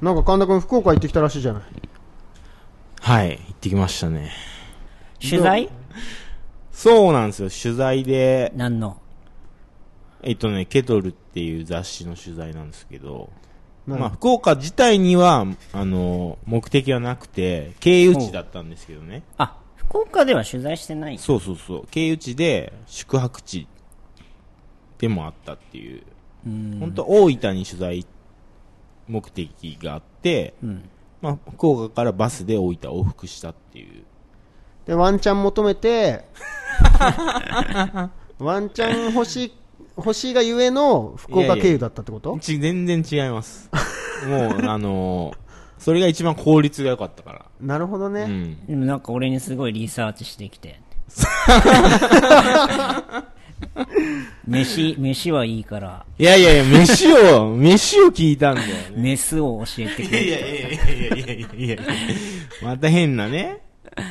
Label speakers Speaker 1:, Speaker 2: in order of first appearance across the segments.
Speaker 1: なんか神田君福岡行ってきたらしいじゃない
Speaker 2: はい、行ってきましたね。
Speaker 3: 取材
Speaker 2: そうなんですよ、取材で、
Speaker 3: 何の
Speaker 2: えっとね、ケトルっていう雑誌の取材なんですけど、
Speaker 1: な
Speaker 2: まあ、福岡自体には、あの、目的はなくて、経由地だったんですけどね。
Speaker 3: あ福岡では取材してない
Speaker 2: そうそうそう。経由地で、宿泊地でもあったっていう。本当大分に取材目的があって、まあ、福岡からバスで大分往復したっていう。
Speaker 1: でワンチャン求めて ワンチャン欲しい欲しいがゆえの福岡経由だったってこと
Speaker 2: ち全然違います。もう、あのーそれが一番効率が良かったか
Speaker 1: なるほどね、
Speaker 2: ら。うん。
Speaker 3: でもなんか俺にすごいリサーチしてき て飯飯はいいから
Speaker 2: いやいやいや、飯を、 飯を聞いたんだよね。
Speaker 3: メスを教えてく
Speaker 2: い
Speaker 3: れ
Speaker 2: やいやいやいやいやいやいやまた変なね。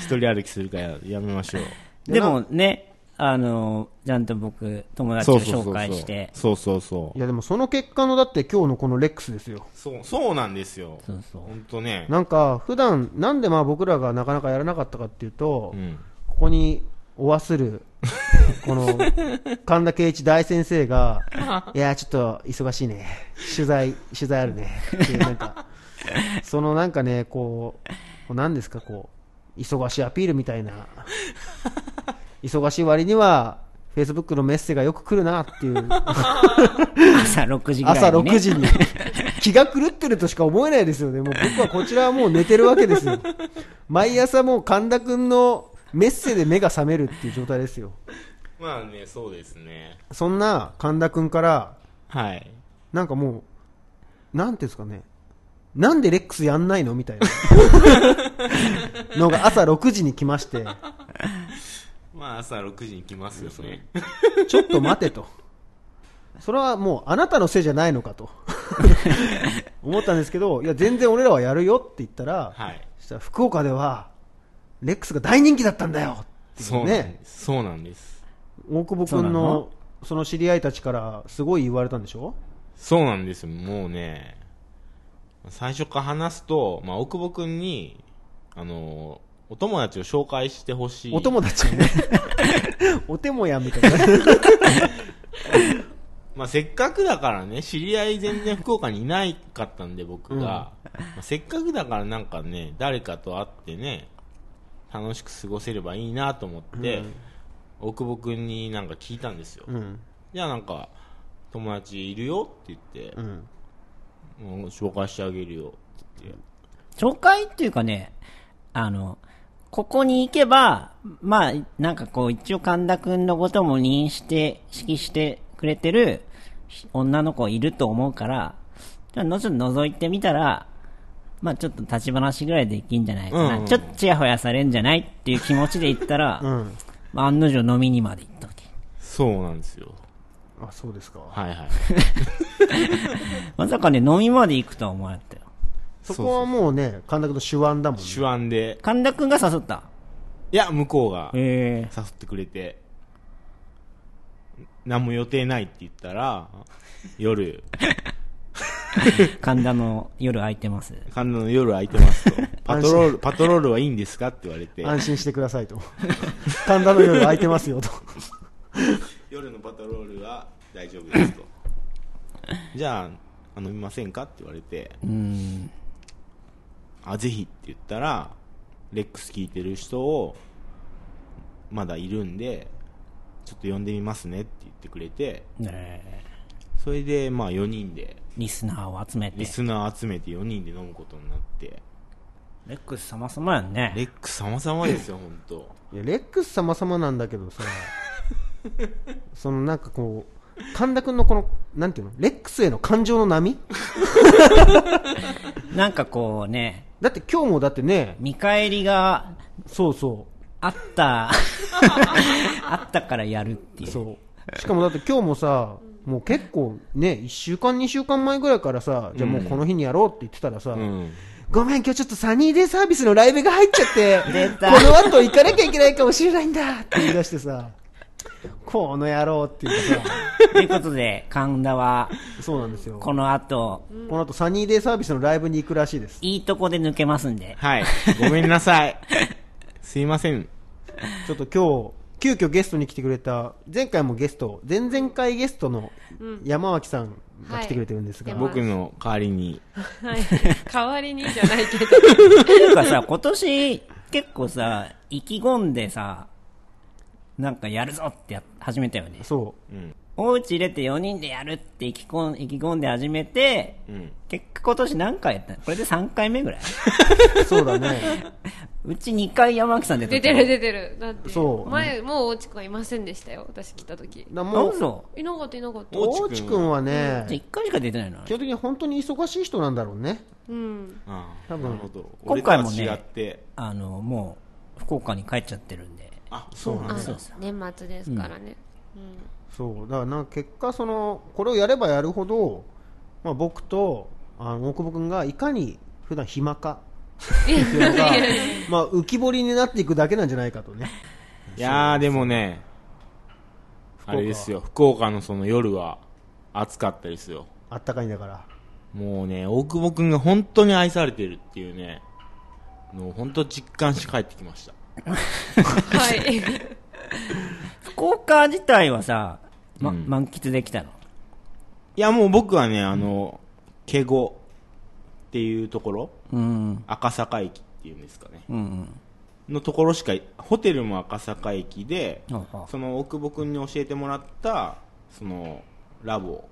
Speaker 2: 一人歩きするからやめましょう。
Speaker 3: でもねあのちゃんと僕友達
Speaker 2: そ
Speaker 3: を
Speaker 2: うそうそ
Speaker 3: 紹
Speaker 2: う
Speaker 3: 介して
Speaker 2: そうそうそ
Speaker 1: いやでもその結果のだって今日のこのレックスですよ
Speaker 2: う。そう、そうなんですよ。
Speaker 3: そう そう
Speaker 2: ほんとね。
Speaker 1: なんか普段なんでまあ僕らがなかなかやらなかったかっていうと、
Speaker 2: うん。
Speaker 1: ここにおわするこの神田圭一大先生がいやちょっと忙しいね取材取材あるねっていうなんかそのなんかねこう何ですかこう忙しいアピールみたいな忙しい割にはフェイスブックのメッセがよく来るなっていう
Speaker 3: 朝6時ぐらいに、ね、
Speaker 1: 朝6時に 気が狂ってるとしか思えないですよね、もう僕はこちらはもう寝てるわけです よ、毎朝もう神田君のメッセで目が覚めるっていう状態ですよ、
Speaker 2: まあね、そうですね。
Speaker 1: そんな神田君から、
Speaker 2: はい。
Speaker 1: なんかもう、なんていうんですかね、なんでレックスやんないのみたいな のが朝6時に来まして、
Speaker 2: まあ朝6時に来ますよね。
Speaker 1: ちょっと待てと。それはもうあなたのせいじゃないの かと思ったんですけど、いや全然俺らはやるよって言ったら、
Speaker 2: はい。
Speaker 1: そしたら福岡ではレックスが大人気だったんだよってい
Speaker 2: そううなんで
Speaker 1: ね
Speaker 2: す。そうなんです。
Speaker 1: 大久保
Speaker 3: そうな
Speaker 1: 君の
Speaker 3: の
Speaker 1: その知り合いたちからすごい言われたんでしょ
Speaker 2: そうなんですよ。もうね、最初から話すと、まあ、大久保くんに、あの、お友達を紹介してほしい。
Speaker 1: お友達にねお手もやんみたいな
Speaker 2: まあ、せっかくだからね、知り合い全然福岡にいないかったんで、僕が。まあ、せっかくだからなんかね、誰かと会ってね、楽しく過ごせればいいなと思って、大久保くんになんか聞いたんですよ。
Speaker 1: うん
Speaker 2: じゃあなんか、友達いるよって言って
Speaker 1: う、ん
Speaker 2: もう紹介してあげるよって言って。
Speaker 3: 紹介っていうかね、あの、ここに行けば、まあ、なんかこう、一応神田くんのことも認して、指揮してくれてるひ女の子いると思うから、じゃあのちょっと覗いてみたら、まあちょっと立ち話ぐらいできんじゃないかな。
Speaker 2: うん
Speaker 3: ちょっとちやほやされんじゃないっていう気持ちで行ったら、
Speaker 1: うん
Speaker 3: まあ案の定飲みにまで行ったわけ。
Speaker 2: そうなんですよ。
Speaker 1: あそうですか
Speaker 2: はいはい。
Speaker 3: まさかね、飲みまで行くとは思わなかったよ。
Speaker 1: そこはもうね神田君の手腕だもんね
Speaker 2: 手腕で、
Speaker 3: 神田くんが誘った。
Speaker 2: いや、向こうが誘
Speaker 3: ええ
Speaker 2: ってくれて、何も予定ないって言ったら、夜、
Speaker 3: 神田の夜空いてます。
Speaker 2: 神田の夜空いてます と。パトロール、パトロールはいいんですかって言われて、
Speaker 1: 安心してくださいと神田の夜空いてますよと
Speaker 2: 夜のパトロールは大丈夫ですと。 じゃあ、飲みませんかって言われて、
Speaker 3: うん。
Speaker 2: あ、ぜひって言ったら、レックス聞いてる人を、まだいるんで、ちょっと呼んでみますねって言ってくれて、
Speaker 3: ねえ
Speaker 2: それで、まあ4人で、
Speaker 3: リスナーを集めて
Speaker 2: リ。スナー集めて4人で飲むことになって、
Speaker 3: レックス様様やん
Speaker 2: レ
Speaker 3: ね。
Speaker 2: ック様様ですよ、本当。
Speaker 1: いやレックス様様なんだけどさそのなんかこう神田君のこのなんていうのレックスへの感情の波
Speaker 3: なんかこうね、
Speaker 1: だって今日もだってね
Speaker 3: 見返りが
Speaker 1: そうそう
Speaker 3: あった、あったからやるっていう。
Speaker 1: そう。しかもだって今日もさ、もう結構ね、1週間、2週間前ぐらいからさ、じゃあもうこの日にやろうって言ってたらさ、
Speaker 2: うん。
Speaker 1: ごめん、今日ちょっとサニーデイサービスのライブが入っちゃって、
Speaker 3: 出
Speaker 1: こ
Speaker 3: た
Speaker 1: の後行かなきゃいけないかもしれないんだって言い出してさ、この野郎っていうかさ、
Speaker 3: ということで、神田は、
Speaker 1: そうなんですよ。こ
Speaker 3: この後、
Speaker 1: の後、サニーデイサービスのライブに行くらしいです。
Speaker 3: いいとこで抜けますんで。
Speaker 2: はい。ごめんなさい。すいません。
Speaker 1: ちょっと今日、急遽ゲストに来てくれた、前回もゲスト、前々回ゲストの山脇さんが来てくれてるんですが、
Speaker 4: はい
Speaker 2: 僕の代わりに。
Speaker 4: はい。代わりにじゃないけど。
Speaker 3: というか さ、今年、結構さ、意気込んでさ、なんかやるぞってや始めたよね。
Speaker 1: そ
Speaker 3: お家入れて4人でやるって意気込ん意気込んで始めて、
Speaker 2: うん。
Speaker 3: 結果今年何回やったのこれで3回目ぐらい
Speaker 1: う、そうだね。
Speaker 3: うち2回山脇さん出て
Speaker 4: 出てる出てる。だって、
Speaker 1: そう
Speaker 4: 前、もう大地君はいませんでしたよ。私来た時。
Speaker 1: だも
Speaker 3: ど
Speaker 1: う
Speaker 3: う、ぞ。
Speaker 4: いなかったいなかった。
Speaker 2: お
Speaker 1: 大地君はね
Speaker 3: じゃ、あ1回しか出てないの
Speaker 1: 基本的に本当に忙しい人なんだろうね。
Speaker 4: うん。
Speaker 2: ああ
Speaker 1: 多分
Speaker 2: なるほど。
Speaker 3: 今回もね
Speaker 2: 俺とは違って。
Speaker 3: あの、もう、福岡に帰っちゃってるんで。
Speaker 2: あ、そうなん
Speaker 4: あ
Speaker 2: だ。
Speaker 3: そうそう
Speaker 4: 年末ですからね。うん。
Speaker 1: そうだからなんか結果そのこれをやればやるほど、まあ、僕とあの大久保君がいかに普段暇かっていうのがまあ浮き彫りになっていくだけなんじゃないかとね
Speaker 2: いやー、でもね、あれですよ、福岡のその夜は暑かったですよ。
Speaker 1: あったかいんだから
Speaker 2: もうね、大久保くんが本当に愛されてるっていうね、のを本当実感して帰ってきました。
Speaker 4: はい。
Speaker 3: 福岡自体はさ、ま、
Speaker 2: うん
Speaker 3: 満喫できたの。
Speaker 2: いや、もう僕はね、あの、ケゴっていうところ、
Speaker 3: うん。
Speaker 2: 赤坂駅っていうんですかね、
Speaker 3: うんうん。
Speaker 2: のところしか、ホテルも赤坂駅で、
Speaker 3: ほうほ
Speaker 2: その大久保くんに教えてもらった、その、ラボ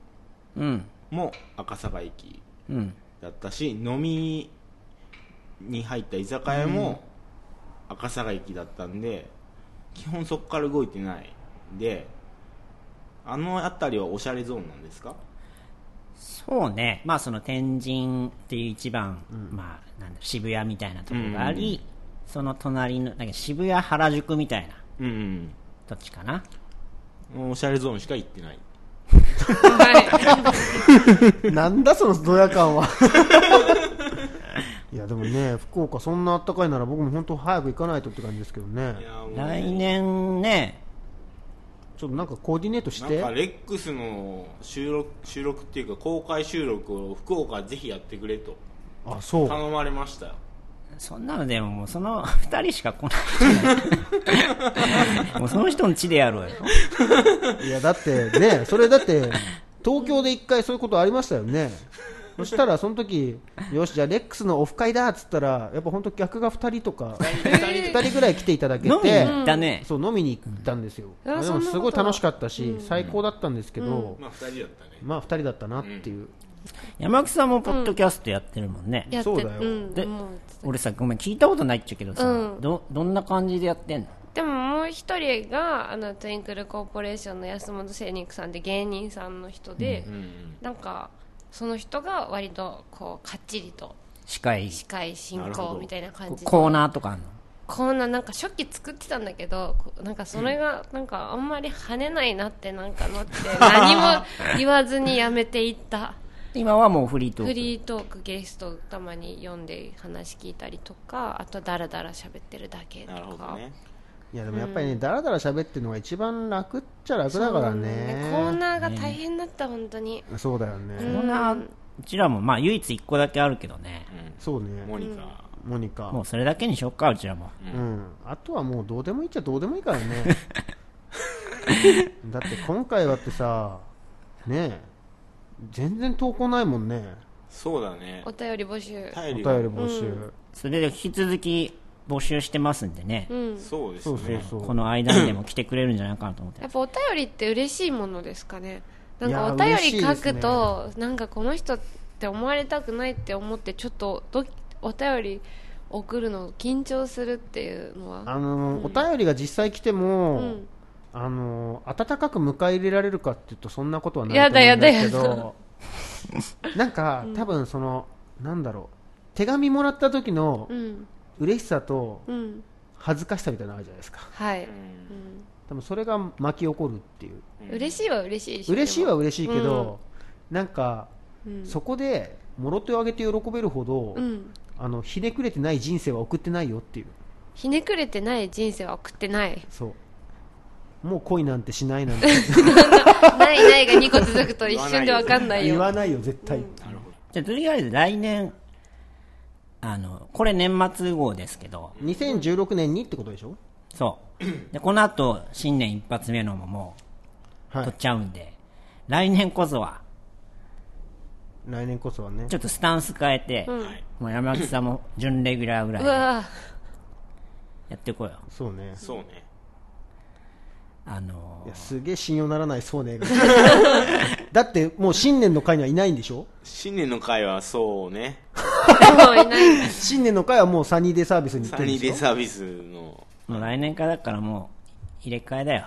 Speaker 3: ううん。
Speaker 2: も赤坂駅
Speaker 3: うん。
Speaker 2: だったし飲みに入った居酒屋も赤坂駅だったんで、基本そこから動いてないであの辺りはおしゃれゾーンなんですか
Speaker 3: そうね。まあ、その天神っていう一番、まあ、なんだろう渋谷みたいなところがあ
Speaker 2: うんうんう
Speaker 3: り、その隣の、なんか渋谷原宿みたいな、
Speaker 2: うん、
Speaker 3: どっちかな。
Speaker 2: うん、おしゃれゾーンしか行ってない
Speaker 4: は
Speaker 1: なんだそのドヤ感 はいやでもね福岡そんなあったかいなら僕も本当早く行かないとって感じですけどね
Speaker 2: いやもう
Speaker 3: 来年ね、
Speaker 1: ちょっとなんかコーディネートし
Speaker 2: なんか
Speaker 1: て
Speaker 2: レックスの収録収録っていうか公開収録を福岡ぜひやってくれと
Speaker 1: あそう
Speaker 2: 頼まれましたよ
Speaker 3: そんなのでももうその二人しか来ない。もうその人の地でやろうよ。
Speaker 1: いやだってねそれだって東京で一回そういうことありましたよねそしたらその時よしじゃあレックスのオフ会だっつったらやっぱ本当客が2人とか2人ぐらい来ていただけ
Speaker 3: 飲みに
Speaker 1: て
Speaker 3: 行ったね。
Speaker 1: そう飲みに行ったんですよ、
Speaker 4: うんあ
Speaker 1: あで
Speaker 4: そ
Speaker 1: も
Speaker 4: んなこと
Speaker 1: すごい楽しかったし、最高だったんですけど、
Speaker 2: まあ2人だったね
Speaker 1: まあ2人だったなっていう、
Speaker 3: 山木さんもポッドキャストやってるもんね。
Speaker 4: い。やって
Speaker 1: そうだよ
Speaker 4: ん
Speaker 3: で
Speaker 4: もう
Speaker 3: 俺さ、ごめん、聞いたことないっちゃけどさ、
Speaker 4: うん
Speaker 3: ど、どんな感じでやってんの
Speaker 4: でももう一人があのトゥインクルコーポレーションの安本聖肉さんって芸人さんの人で、なんかその人が割とこうかっちりと
Speaker 3: 司会、
Speaker 4: 司会進
Speaker 2: なるほ
Speaker 4: 行
Speaker 2: ど
Speaker 4: みたいな感じで
Speaker 3: コーナーとかあんの
Speaker 4: こんななんか初期作ってたんだけどこうなんかそれがなんかあんまり跳ねないなってなんかなって何も言わずにやめていった
Speaker 3: 今はもうフリートーク。
Speaker 4: フリートークゲストたまに読んで話聞いたりとかあとダラダラ喋ってるだけと
Speaker 2: なるほど
Speaker 4: か
Speaker 2: ね
Speaker 1: いやでもやっぱりね、だらだら喋ってるのが一番楽っちゃ楽だからね、
Speaker 4: コーナーが大変だった本当に
Speaker 1: そうだよね、
Speaker 3: コーナー、うちらもまあ唯一一個だけあるけどね。
Speaker 1: そう
Speaker 2: モ
Speaker 1: ね、
Speaker 2: ニカ、
Speaker 1: モニカ、
Speaker 3: もうそれだけにしよっか、うちらも。
Speaker 1: うん、あとはもうどうでもいいっちゃどうでもいいから ねだって今回だってさねえ全然投稿ないもんね
Speaker 2: そうだね
Speaker 4: お便り募集
Speaker 1: お
Speaker 2: 頼
Speaker 1: 便り
Speaker 2: りが
Speaker 1: 募集、
Speaker 3: それで引き続き募集してますんでね。
Speaker 4: うん
Speaker 2: そうです
Speaker 1: そ
Speaker 2: ね
Speaker 1: うそうそう
Speaker 3: この間にでも来てくれるんじゃないかなと思って
Speaker 4: や。っぱお便りって嬉しいものですかねなん
Speaker 1: いや
Speaker 4: か
Speaker 1: ー
Speaker 4: お便り書くと、なんかこの人って思われたくないって思ってちょっとどお便り送るの緊張するっていうのは
Speaker 1: あの、お便りが実際来ても、
Speaker 4: うん
Speaker 1: あの温かく迎え入れられるかっていうとそんなことはない
Speaker 4: やだ
Speaker 1: と思うんですけ
Speaker 4: やだや
Speaker 1: ど なんか多分そのなんだろう手紙もらった時の
Speaker 4: うん
Speaker 1: 嬉しさと
Speaker 4: うん
Speaker 1: 恥ずかしさみたいなのあるじゃないですか
Speaker 4: はい、
Speaker 2: うん
Speaker 1: 多分それが巻き起こるっていう
Speaker 4: うん嬉しいは嬉しいでしょ
Speaker 1: 嬉しいは
Speaker 4: でも
Speaker 1: 嬉しいけど、なんか、
Speaker 4: うん
Speaker 1: そこでもろ手を挙げて喜べるほど、
Speaker 4: うん
Speaker 1: あのひねくれてない人生は送ってないよっていう
Speaker 4: ひねくれてない人生は送ってない
Speaker 1: そうもう恋なんてしないなんて
Speaker 4: ないないが2個続くと一瞬でわかんない
Speaker 1: 言
Speaker 4: よ。
Speaker 1: わないよ絶対、
Speaker 2: なるほど。
Speaker 3: じゃあ、とりあえず来年、あの、これ年末号ですけど、
Speaker 1: 2016年にってことでしょ
Speaker 3: そう。で、この後、新年一発目のももう、
Speaker 1: は
Speaker 3: 取っ
Speaker 1: い
Speaker 3: ちゃうんで、来年こそは、
Speaker 1: 来年こそはね
Speaker 3: ちょっとスタンス変えて、もう山口さんも準レギュラーぐらいうでや
Speaker 4: わ
Speaker 3: ってこうよ。
Speaker 1: そうね
Speaker 2: そうね。
Speaker 3: あの
Speaker 1: いやすげえ信用ならないそう ねがだってもう新年の会にはいないんでしょ
Speaker 2: 新年の会はそうね。
Speaker 4: ぁ。 もういない。
Speaker 1: 新年の会はもうサニーデイサービスに行っ
Speaker 2: サ
Speaker 1: てるん
Speaker 2: ニーデ
Speaker 1: で
Speaker 2: イ
Speaker 1: すよ
Speaker 2: サービスの。
Speaker 3: もう来年からだからもう、入れ替えだよ。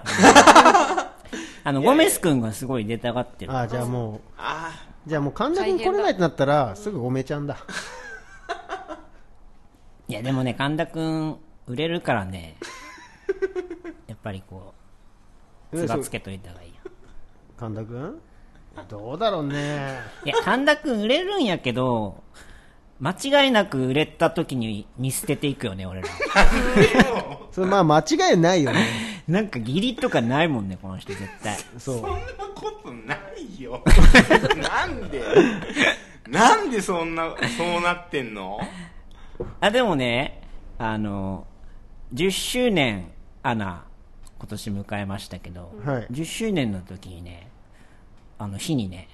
Speaker 3: あの、ゴメス君がすごい出たがってる。
Speaker 1: ああじゃあも
Speaker 2: ああ、
Speaker 1: うじゃあもう神田君来れないってなったらすぐごめちゃんだ
Speaker 3: いや、でもね、神田君、売れるからね、やっぱりこう、つばつけといた方がいいよ。
Speaker 1: 神田君どうだろうね
Speaker 3: いや、神田君売れるんやけど、間違いなく売れた時に見捨てていくよね、俺ら。
Speaker 1: それまあ間違いないよね
Speaker 3: なんか義理とかないもんね、この人絶対。
Speaker 1: そう
Speaker 2: そんなことな いよ。なんでなんでそんな、そうなってんの
Speaker 3: あ、でもね、あの、10周年、アナ、今年迎えましたけど、
Speaker 1: はい
Speaker 3: 10周年の時にね、あの日にね、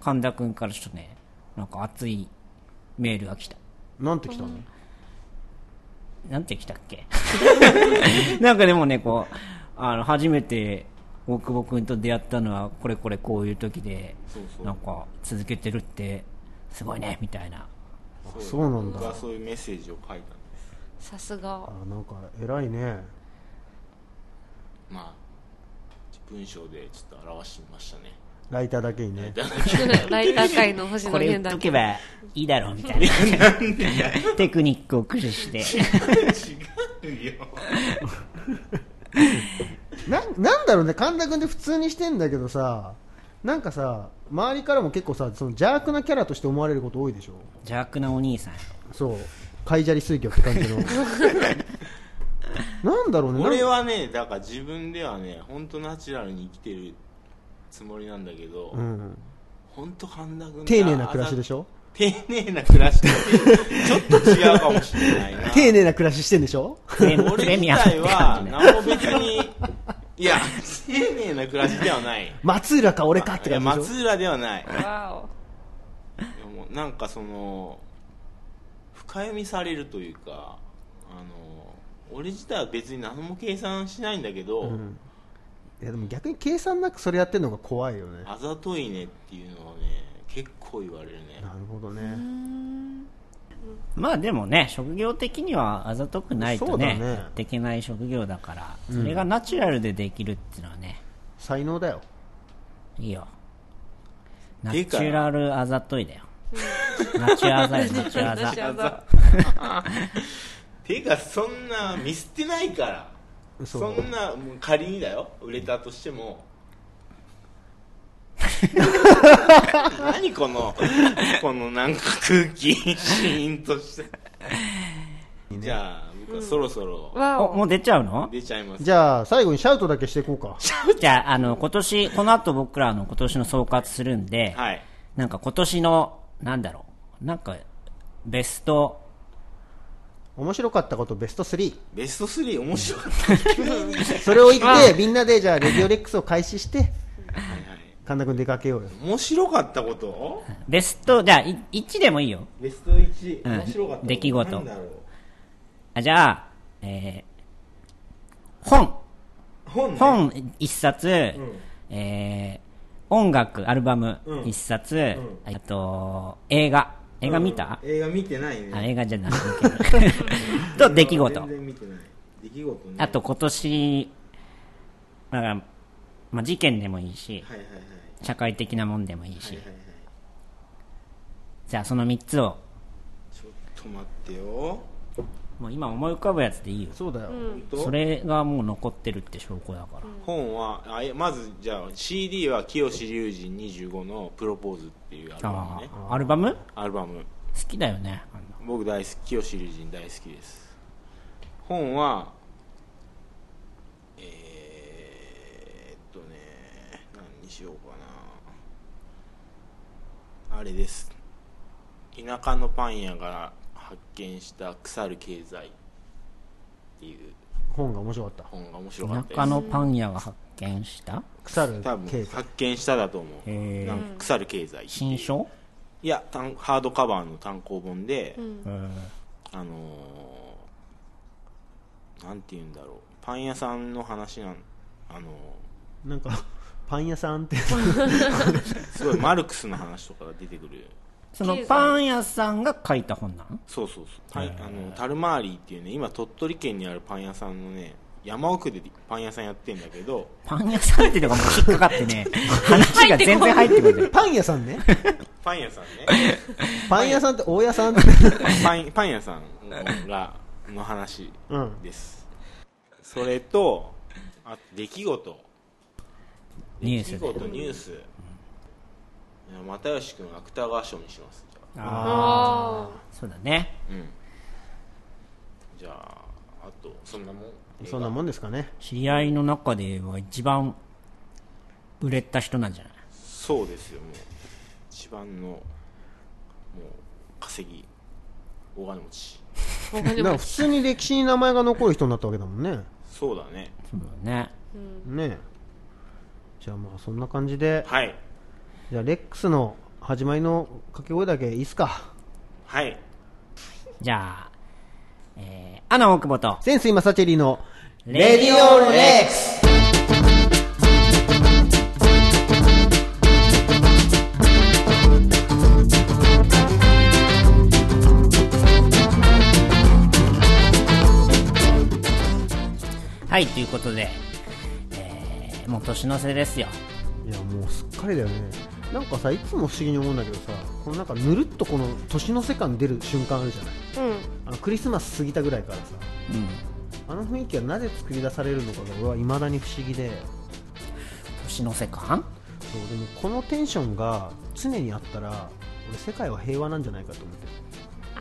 Speaker 3: 神田君からちょっとね、なんか熱いメールが来た。
Speaker 1: なんて来たの
Speaker 3: なんて来たっ けなんかでもね、こう、あの、初めて大久保くんと出会ったのは、これこれこういう時で、
Speaker 2: そうそう
Speaker 3: なんか、続けてるって、すごいね、みたいな。
Speaker 1: あそうなんだ
Speaker 2: 僕はそういうメッセージを書いたんです。
Speaker 4: さ すが。
Speaker 1: あなんか偉いね
Speaker 2: まあ、文章でちょっと表してみましたね。
Speaker 1: ライターだけにね
Speaker 4: ライター界の星
Speaker 3: こ
Speaker 4: 野
Speaker 3: れ言っ
Speaker 4: 源だ
Speaker 3: と
Speaker 4: け
Speaker 3: け。ばいいだろう、みたいな。テクニックを駆使して。
Speaker 2: 違うよ。
Speaker 1: ななんだろうね神田君って普通にしてんだけどさなんかさ周りからも結構さその邪悪なキャラとして思われること多いでしょ
Speaker 3: 邪悪なお兄さん。
Speaker 1: そう海砂利水魚って感じの なんだろうね
Speaker 2: 俺
Speaker 1: は
Speaker 2: はね、だから自分ではね、ほんとナチュラルに生きてるつもりなんだけど、
Speaker 1: うん、
Speaker 2: ほんと神田君が
Speaker 1: 丁寧な暮らしでしょ
Speaker 2: 丁寧な暮らしとちょっと違うかもしれないな。
Speaker 1: 丁寧な暮らししてんでしょ
Speaker 3: プレプ
Speaker 2: 俺
Speaker 3: レ
Speaker 2: 自
Speaker 3: ミアムって
Speaker 2: 体は
Speaker 3: 感じね。
Speaker 2: 何も別にいや丁寧な暮らしで はない
Speaker 1: 松浦か俺かって
Speaker 2: いや
Speaker 1: 感じでしょ
Speaker 2: 松浦ではない
Speaker 4: わ
Speaker 2: でもなんかその深読みされるというかあの俺自体は別に何も計算しないんだけど、
Speaker 1: うんいやでも逆に計算なくそれやってるのが怖いよね
Speaker 2: あざといねっていうのはね結構言われるね
Speaker 1: なるほどね
Speaker 3: まあでもね、職業的にはあざとくない
Speaker 1: そ
Speaker 3: と
Speaker 1: うだ
Speaker 3: ね、
Speaker 1: ね
Speaker 3: やっていけない職業だから、それがナチュラルでできるっていうのはね、
Speaker 1: 才能だよ
Speaker 3: いいよ。ナ
Speaker 2: て
Speaker 3: チ
Speaker 2: いうか
Speaker 3: ュラルあざといだよ。ナチュ アザよ、ナチュア
Speaker 4: ー。
Speaker 3: ザ。
Speaker 4: 私はさ
Speaker 2: ていうかそんな見捨てないからそ
Speaker 1: そうん
Speaker 2: なもう仮にだよ売れたとして も何このこのなんか空気シーンとしてじゃあ僕はそろそろ
Speaker 4: わ
Speaker 3: お、
Speaker 4: お。
Speaker 3: もう出ちゃうの
Speaker 2: 出ちゃいます
Speaker 1: じゃあ最後にシャウトだけしていこうか
Speaker 3: じゃあ、あの、今年、この後僕らの今年の総括するんで、
Speaker 2: はい
Speaker 3: なんか今年の、なんだろう、なんか、ベスト、
Speaker 1: 面白かったことベスト3
Speaker 2: ベスト3面白かっ
Speaker 1: それを言ってみんなでじゃあレディオレックスを開始して
Speaker 2: た、はいはい、
Speaker 1: 神田君出かけようよ
Speaker 2: 面白かったこと
Speaker 3: ベスト、じゃあ、い1でもいいよ。
Speaker 2: ベスト1、
Speaker 3: うん
Speaker 2: 面白かったこと
Speaker 3: 出来事
Speaker 2: なんだろう
Speaker 3: あじゃあ、えー本、
Speaker 2: 本、ね、
Speaker 3: 本1冊、えー音楽、アルバム1冊、あと、映画、映画見た、
Speaker 2: 映画見てないね
Speaker 3: あ映画じゃなくて。と、出来事
Speaker 2: 全。然見てない出来事ね
Speaker 3: あと今年、だから、まあ、事件でもいいし、
Speaker 2: はいはいはい
Speaker 3: 社会的なもんでもいい
Speaker 2: は
Speaker 3: し、
Speaker 2: いはいはい
Speaker 3: じゃあその3つを、
Speaker 2: ちょっと待ってよ。
Speaker 3: もう今思い浮かぶやつでいいよ。
Speaker 1: そうだよ、
Speaker 2: 本当
Speaker 3: それがもう残ってるって証拠だから。
Speaker 2: 本はあいやまずじゃあ CD は清志隆人25の「プロポーズ」っていうアルバム
Speaker 3: あ
Speaker 2: ね
Speaker 3: あ、アルバム
Speaker 2: アルバム
Speaker 3: 好きだよね。あんな
Speaker 2: 僕大好き清志隆人大好きです本はえにしようかなあれです田舎のパン屋が発見した腐る経済っていう
Speaker 1: 本が面白かった
Speaker 2: 本が面白かった
Speaker 3: 田
Speaker 2: です
Speaker 3: 舎のパン屋が発見した
Speaker 1: 腐る
Speaker 2: 多分
Speaker 1: 経済
Speaker 2: 発見しただと思う、
Speaker 3: へー
Speaker 2: なんか腐る経済っていう
Speaker 3: 新書
Speaker 2: いや単ハードカバーの単行本で、
Speaker 3: うん
Speaker 2: あのーなんて言うんだろうパン屋さんの話なんあの
Speaker 1: なんかパン屋さんって
Speaker 2: ーすごいマルクスの話とかが出てくる
Speaker 3: そのパン屋さんが書いた本なの
Speaker 2: そうそうそうパンあのタルマーリーっていうね今鳥取県にあるパン屋さんのね山奥でパン屋さんやってんだけど
Speaker 3: パン屋さんっていうのがもう引っかかってね、話が全然入ってくる。
Speaker 1: パン屋さんね
Speaker 2: パン屋さんね
Speaker 1: パン屋さんって大屋さんって
Speaker 2: パンパン屋さんがの話
Speaker 1: うん
Speaker 2: です、それとあと出来事
Speaker 3: ニュース
Speaker 2: 出
Speaker 3: で
Speaker 2: 来事ニュース、いや又吉君芥川賞にしますじゃあ
Speaker 4: あ
Speaker 3: そうだね。
Speaker 2: うんじゃああとそんなもん
Speaker 1: そんなもんですかね
Speaker 3: 知り合いの中では一番売れた人なんじゃない
Speaker 2: そうですよもう一番のもう稼ぎ大金持ち
Speaker 4: お金
Speaker 1: なん
Speaker 4: 持
Speaker 1: か
Speaker 4: ち
Speaker 1: 普通に歴史に名前が残る人になったわけだもんね
Speaker 2: そうだね
Speaker 3: そうだね。
Speaker 1: ねえじゃあまあそんな感じで
Speaker 2: はい
Speaker 1: じゃあレックスの始まりの掛け声だけいいっすか
Speaker 2: はい
Speaker 3: じゃあ、えー、アナ大久保と、
Speaker 1: センス今サチェリーの
Speaker 3: レディオレックスはい、ということで、えー、もう年の瀬ですよ。
Speaker 1: いやもうすっかりだよねなんかさいつも不思議に思うんだけどさこのなんかぬるっとこの年の世感出る瞬間あるじゃない
Speaker 4: うん
Speaker 1: あのクリスマス過ぎたぐらいからさ
Speaker 3: う
Speaker 1: あ
Speaker 3: ん。
Speaker 1: の雰囲気はなぜ作り出されるのかが俺は未だに不思議で
Speaker 3: 年の瀬感
Speaker 1: そうでもこのテンションが常にあったら俺世界は平和なんじゃないかと思って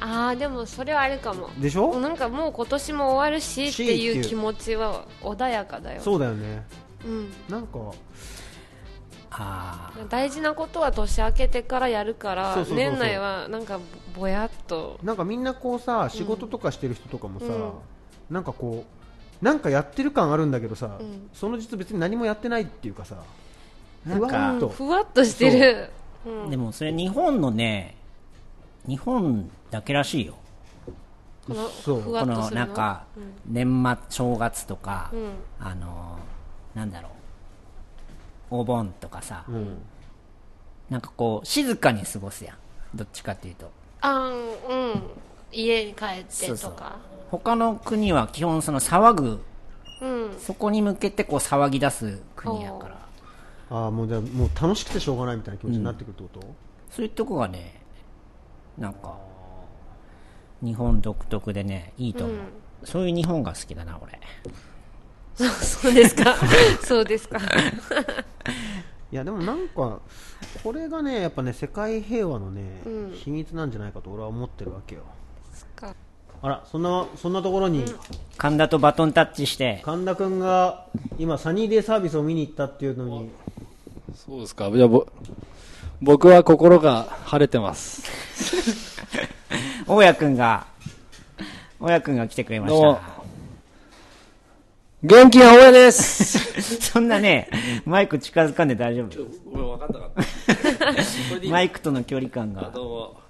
Speaker 4: ああでもそれはあるかも
Speaker 1: るでしょ
Speaker 4: なんかもう今年も終わるしっ
Speaker 1: し
Speaker 4: てい
Speaker 1: っ
Speaker 4: う
Speaker 1: ていう
Speaker 4: 気持ちは穏やかだよ
Speaker 1: そうだよね
Speaker 4: うん、
Speaker 1: なんか
Speaker 3: ああ、
Speaker 4: 大事なことは年明けてからやるから
Speaker 1: そうそうそうそう
Speaker 4: 年内はなんかぼやっと
Speaker 1: なんかみんなこうさ仕事とかしてる人とかもさ、
Speaker 4: うん
Speaker 1: なんかこうなんかやってる感あるんだけどさ、
Speaker 4: うん
Speaker 1: その実別に何もやってないっていうかさ
Speaker 3: なんか
Speaker 1: ふわっと
Speaker 4: ふわっとしてるうん
Speaker 3: でもそれ日本のね、日本だけらしいよ。
Speaker 4: この
Speaker 1: そう
Speaker 4: ふ
Speaker 3: こ
Speaker 4: わっと
Speaker 3: の
Speaker 4: するの
Speaker 3: なんか年末正月とか、あのーなんだろうお盆とかさ、
Speaker 1: うん
Speaker 3: なんかこう静かに過ごすやんどっちかっていうと
Speaker 4: あーうん家に帰ってとか
Speaker 3: 他の国は基本その騒ぐ
Speaker 4: うん
Speaker 3: そこに向けてこう騒ぎ出す国やから
Speaker 1: ああもうじゃあもう楽しくてしょうがないみたいな気持ちになってくるってこと、
Speaker 3: そういうとこがねなんか日本独特でねいいと思う、そういう日本が好きだな俺
Speaker 4: そうそうですかそうですか
Speaker 1: いやでもなんかこれがねやっぱね世界平和のね、秘密なんじゃないかと俺は思ってるわけよ
Speaker 4: か
Speaker 1: あらそんなそんなところに
Speaker 3: 神田とバトンタッチして
Speaker 1: 神田君が今サニーデイサービスを見に行ったっていうのに
Speaker 5: そうですか。じゃあ、ぼ僕は心が晴れてます。
Speaker 3: 大家くんが大家くんが来てくれまし
Speaker 5: どう
Speaker 3: た
Speaker 5: も元気な親です。
Speaker 3: そんなね、マイク近づかんで大丈夫。
Speaker 5: 俺分かんなかった。 これでいい
Speaker 3: マイクとの距離感
Speaker 5: あ
Speaker 3: が。
Speaker 5: どうも。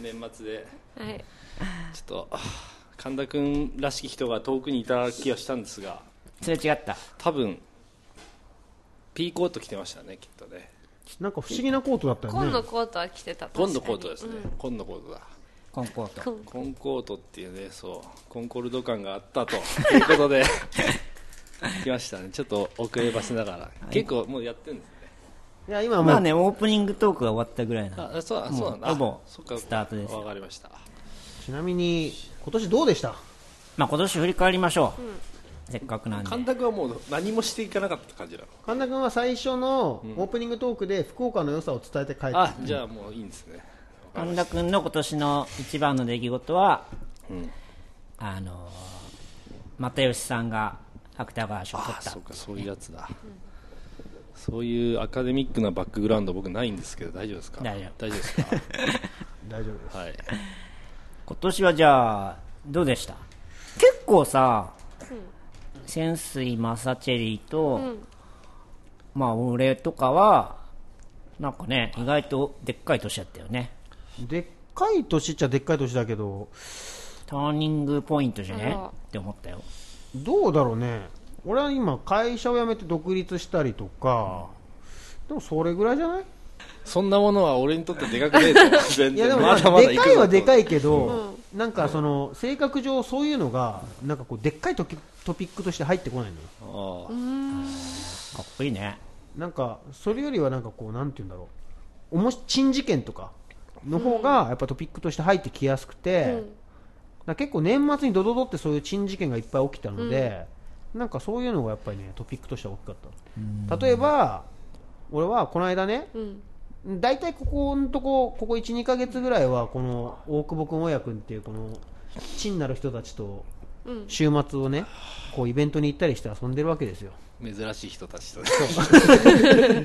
Speaker 5: 年末で、
Speaker 4: はい
Speaker 5: ちょっと、 神田くんらしき人が遠くにいた気がしたんですが、
Speaker 3: それ違った。
Speaker 5: 多分、ピーコート着てましたね、きっとね。
Speaker 1: なんか不思議なコートだったよね
Speaker 4: 紺のコートは着てた確かに
Speaker 5: 紺のコートですね。紺のコートだ。
Speaker 3: コンコート。
Speaker 5: コンコートっていうね、そう、コンコルド感があったということで、来ましたね。ちょっと遅ればせながら。結構もうやってるんですね。
Speaker 1: いや今はもう、
Speaker 3: まあね、オープニングトークが終わったぐらいなの。
Speaker 5: あ、そう、そうなんだ。
Speaker 3: ほぼ
Speaker 5: そっか
Speaker 3: スタートです
Speaker 5: わかりました。
Speaker 1: ちなみに今年どうでした
Speaker 3: まあ今年振り返りましょう。せっかくなんで。
Speaker 5: 監督はもう何もしていかなかった感じなの。
Speaker 1: 神田君は最初のオープニングトークで福岡の良さを伝えて帰って、
Speaker 5: あ、じゃあもういいんですね。
Speaker 3: 神田くんの今年の一番の出来事は、あのー、又吉さんが芥川賞を取
Speaker 5: あ、
Speaker 3: っ
Speaker 5: そ
Speaker 3: た
Speaker 5: う。か、そういうやつだ。そういうアカデミックなバックグラウンド僕ないんですけど大丈夫ですか
Speaker 3: 大丈夫
Speaker 5: 大丈夫ですか
Speaker 1: 大丈夫です。
Speaker 5: はい
Speaker 3: 今年はじゃあどうでした結構さ、潜水マサチェリーと、
Speaker 4: ん
Speaker 3: まあ俺とかはなんかね意外とでっかい年だったよね
Speaker 1: でっかい年っちゃでっかい年だけど、
Speaker 3: ターニングポイントじゃね
Speaker 4: あら
Speaker 3: って思ったよ
Speaker 1: どうだろうね。俺は今、会社を辞めて独立したりとか、でもそれぐらいじゃない
Speaker 5: そんなものは俺にとってでか くねえと全
Speaker 1: いやで
Speaker 5: 然
Speaker 1: も
Speaker 5: ま
Speaker 1: ま
Speaker 5: だ
Speaker 1: あ
Speaker 5: まだ
Speaker 1: で
Speaker 5: 行
Speaker 1: か
Speaker 5: く
Speaker 1: い
Speaker 5: ぞ
Speaker 1: は
Speaker 5: と
Speaker 1: でかいけど、なんかその性格上そういうのがなんかこうでっかいトピトピックとして入ってこないのよ
Speaker 5: ああ
Speaker 3: かっこいいね
Speaker 1: なんかそれよりはなんかこうなんて言うんだろうおもし珍事件とかの方がやっぱトピックとして入ってきやすくて、だから結構年末にドドドってそういう珍事件がいっぱい起きたので、なんかそういうのがやっぱりねトピックとしては大きかった例えば俺はこの間ね、
Speaker 4: うん
Speaker 1: 大体ここのとこ、ここ1、2ヶ月ぐらいは、この大久保君、親君っていう、この、地になる人たちと、
Speaker 4: うん
Speaker 1: 週末をね、こうイベントに行ったりして遊んでるわけですよ。
Speaker 5: 珍しい人たちとね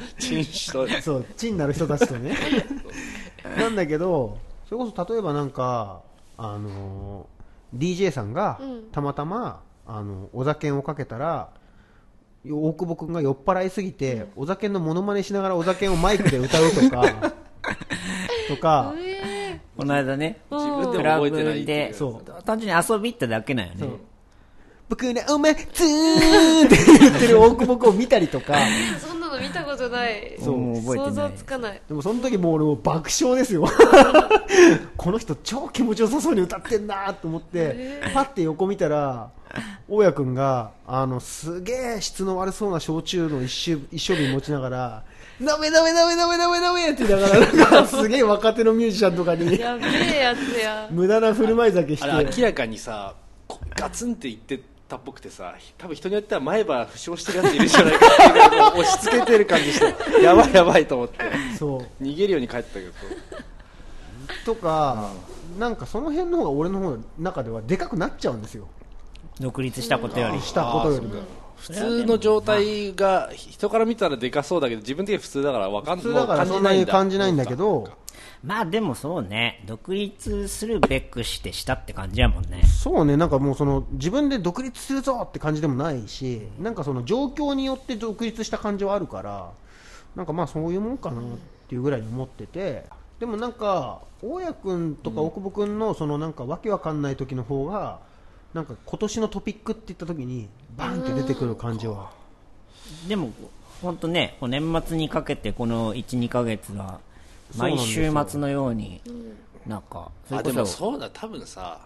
Speaker 5: チンしと
Speaker 1: そう、地になる人たちとね。なんだけど、それこそ例えばなんか、あのー DJ さんが
Speaker 4: うん、
Speaker 1: たまたま、あの、お酒をかけたら、大久保君が酔っ払いすぎて、お酒のモノマネしながらお酒をマイクで歌うと か、とか、
Speaker 4: え
Speaker 3: この間ね
Speaker 4: ー、
Speaker 5: 自分
Speaker 3: ク
Speaker 5: で
Speaker 3: ラ
Speaker 5: も覚
Speaker 3: ブ
Speaker 5: えてないっていう
Speaker 3: で
Speaker 1: そう
Speaker 3: 単純に遊び行っただけなんよね
Speaker 1: 僕らお前ツーンって言ってる大久保君を見たりとか
Speaker 4: そんなの見たことない
Speaker 3: そうもう覚えてない
Speaker 4: 想像つかない
Speaker 1: でもその時もう俺もう爆笑ですよ この人超気持ちよさそうに歌ってんなと思ってパッて横見たら大家君があのすげえ質の悪そうな焼酎の一周一生瓶持ちながら「ダメダメダメダメダメダメ」って言いながらなんかすげえ若手のミュージシャンとかに
Speaker 4: やべえやつや
Speaker 1: 無駄な振る舞い酒して
Speaker 5: あれ明らかにさこガツンって言ってたっぽくてさ多分人によっては前歯負傷してるやついるんじゃないかっていうのを押し付けてる感じしてやばいやばいと思って
Speaker 1: そう
Speaker 5: 逃げるように帰ったけど
Speaker 1: とか、なんかその辺の方が俺の方の中ではでかくなっちゃうんですよ
Speaker 3: 独立したことより
Speaker 1: したことよりも
Speaker 5: 普通の状態が人から見たらでかそうだけど自分的には普通だからわかん
Speaker 1: 普通だから
Speaker 5: もう
Speaker 1: そんなに感じないんだ
Speaker 5: そう
Speaker 1: け
Speaker 5: か
Speaker 1: ど
Speaker 3: まあでもそうね独立するべくしてしたって感じやもんね
Speaker 1: そうねなんかもうその自分で独立するぞって感じでもないしなんかその状況によって独立した感じはあるからなんかまあそういうもんかなっていうぐらいに思っててでもなんか大家君とか大久保君のそのなんかわけわかんない時の方がなんか今年のトピックって言った時にバンって出てくる感じは
Speaker 3: でも本当ねこう年末にかけてこの12か月は
Speaker 1: そうなん
Speaker 3: 毎
Speaker 1: です
Speaker 3: 週
Speaker 1: よ
Speaker 3: 末のようになんかそれ
Speaker 5: あ
Speaker 3: こ
Speaker 5: でも
Speaker 3: そ
Speaker 5: そうだ多分さ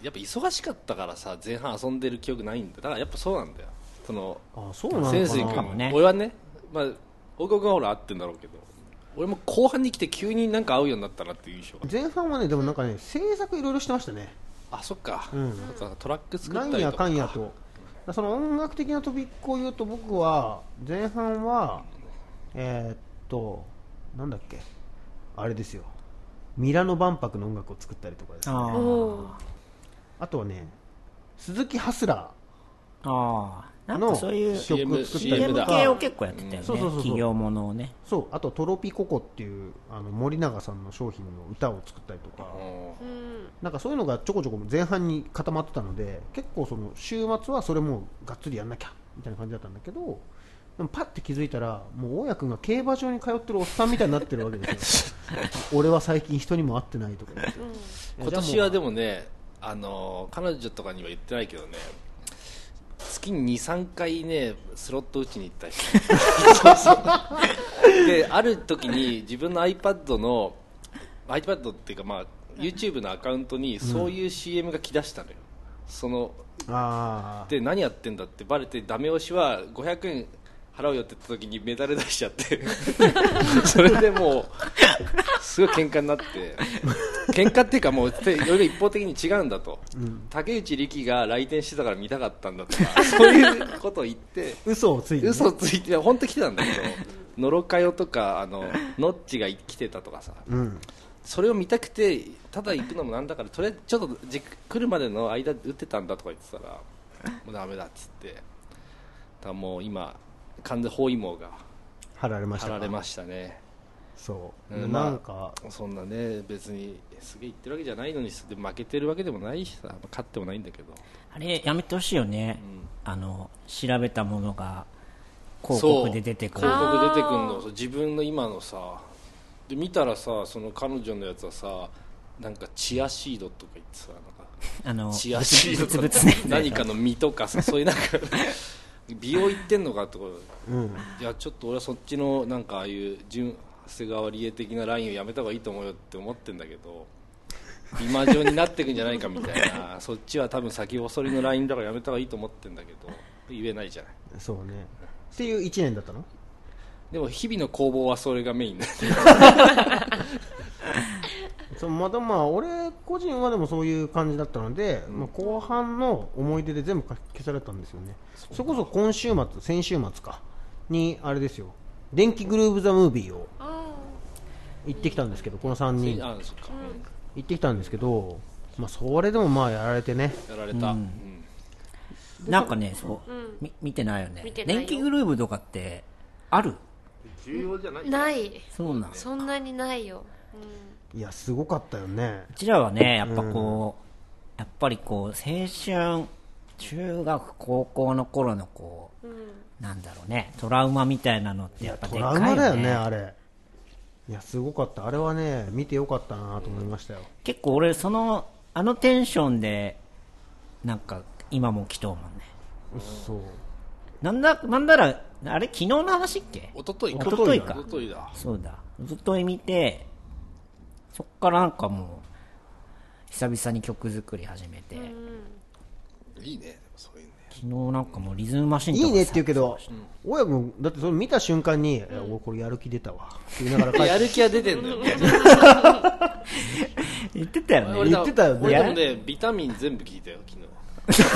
Speaker 5: やっぱ忙しかったからさ前半遊んでる記憶ないんだだからやっぱそうなんだよその
Speaker 1: あそうなのか
Speaker 5: 潜水
Speaker 1: な
Speaker 5: 君
Speaker 3: かもね
Speaker 5: 俺はね、まあ、大久保君はほら合ってんだろうけど俺も後半に来て急になんか会うようになったなっていう印象が
Speaker 1: 前半はねでもなんかね制作いろいろしてましたね
Speaker 5: あそっか,、
Speaker 1: うん
Speaker 5: そっかトラック作っ
Speaker 1: な
Speaker 5: たり
Speaker 1: ん
Speaker 5: とか
Speaker 1: やかんやとその音楽的なトピックを言うと僕は前半はえーっとなんだっけあれですよミラノ万博の音楽を作ったりとかですね
Speaker 3: あ
Speaker 1: あ
Speaker 4: お
Speaker 1: とはね鈴木ハスラ
Speaker 3: ああなんかそういう
Speaker 1: の曲
Speaker 5: CM
Speaker 1: 作ったり
Speaker 5: CM
Speaker 1: と
Speaker 5: だ
Speaker 3: 系を
Speaker 1: か
Speaker 3: 結構やってたよね
Speaker 1: そうそうそうそう
Speaker 3: 企業ものをね
Speaker 1: そうあとトロピココっていうあの森永さんの商品の歌を作ったりとか
Speaker 5: う
Speaker 4: うん
Speaker 1: なんかそういうのがちょこちょこ前半に固まってたので結構その週末はそれもうがっつりやんなきゃみたいな感じだったんだけどでもパッて気づいたらもう大家君が競馬場に通ってるおっさんみたいになってるわけ ですよ俺は最近人にも会ってないとか言って
Speaker 5: ん今年はで
Speaker 1: も
Speaker 5: もねあのー彼女とかには言ってないけどね月に23回ねスロット打ちに行ったりしてそうそうである時に自分の iPad の iPad っていうかまあ YouTube のアカウントにそういう CM が来だしたのよ、その
Speaker 1: あー
Speaker 5: で何やってんだってバレてダメ押しは500円払うよって言った時にメダル出しちゃってそれでもうすごい喧嘩になって喧嘩っていうかもうていろいろ一方的に違うんだと、竹内力が来店してたから見たかったんだとかそういうことを言って
Speaker 1: 嘘をついてね、
Speaker 5: 嘘ついて本当来てたんだけどのろかよとかあのノッチが来てたとかさ
Speaker 1: うん、
Speaker 5: それを見たくてただ行くのもなんだからとりあえずちょっとじ来るまでの間打ってたんだとか言ってたら もうダメだっつってだからもう今完全包囲網が
Speaker 1: 貼られました
Speaker 5: 貼
Speaker 1: から
Speaker 5: れましたね
Speaker 1: そう、
Speaker 5: うん
Speaker 1: なんか、
Speaker 5: そんなね別にすげえ言ってるわけじゃないのにで負けてるわけでもないしさ勝ってもないんだけど
Speaker 3: あれ、やめてほしいよね。
Speaker 5: ん
Speaker 3: あの、調べたものが、広
Speaker 5: そう
Speaker 3: 告で出てくる。
Speaker 5: 広告出てくるのそう自分の今のさで見たらさその彼女のやつはさなんかチアシードとか言ってさなんか
Speaker 3: あの、
Speaker 5: チアシード
Speaker 3: ブツ
Speaker 5: と
Speaker 3: ブ
Speaker 5: か
Speaker 3: ツね。
Speaker 5: 何かの実とかさそういうなんか 美容行ってんのかとか
Speaker 1: うん、
Speaker 5: いやちょっと俺はそっちのなんかああいう純長谷川理恵的なラインをやめた方がいいと思うよって思ってんだけど 美魔女になっていくんじゃないかみたいなそっちは多分先細りのラインだからやめた方がいいと思ってんだけど言えないじゃない
Speaker 1: そうね。っていう1年だったの
Speaker 5: でも日々の攻防はそれがメインだ
Speaker 1: そうまだまあ俺個人はでもそういう感じだったので、まあ、後半の思い出で全部書き消されたんですよねそれこそ今週末先週末かにあれですよ「電気グルーヴ・ザ・ムービー」を
Speaker 4: あ
Speaker 1: 行ってきたんですけどこの3人行
Speaker 5: あそっか、
Speaker 1: ってきたんですけど、まあ、それでもまあやられてね
Speaker 5: やられた、うん
Speaker 3: なんかね、そう、
Speaker 4: うん
Speaker 3: み見てないよね
Speaker 4: 見てないよ
Speaker 3: 電気グルーヴとかって、ある
Speaker 2: 重要じゃない
Speaker 4: あない
Speaker 3: そうなん
Speaker 4: そんなにないよ、
Speaker 1: いやすごかったよね
Speaker 3: うちらはね、やっぱこう、やっぱりこう、青春、中学、高校の頃のこう、なんだろうね、トラウマみたいなのってやっぱで
Speaker 1: ト
Speaker 3: かい
Speaker 1: ラ
Speaker 3: よ
Speaker 1: ウマ
Speaker 3: ね。
Speaker 1: だよねあれいやすごかったあれはね見てよかったなと思いましたよ、
Speaker 3: 結構俺、その、あのテンションで、なんか、今も来とうもんね。
Speaker 1: そう
Speaker 3: なんだ、なんだら、あれ、昨日の話っけ
Speaker 5: 一昨日
Speaker 3: 一昨日か
Speaker 5: 一昨日だ
Speaker 3: そうだ。ずっと見て、そっからなんかもう、久々に曲作り始めて、
Speaker 5: いいねでもそういうね
Speaker 3: 昨日なんかもうリズムマシンと
Speaker 1: い
Speaker 3: か
Speaker 1: いねって言うけど、親分、だってそれ見た瞬間に、いや俺、これやる気出たわって言いながら帰って
Speaker 5: やる気は出てんのよね
Speaker 3: 言ってたよね。
Speaker 5: 俺だ
Speaker 1: 言ってたよね
Speaker 5: 俺でもねビタミン全部聞いたよ 昨日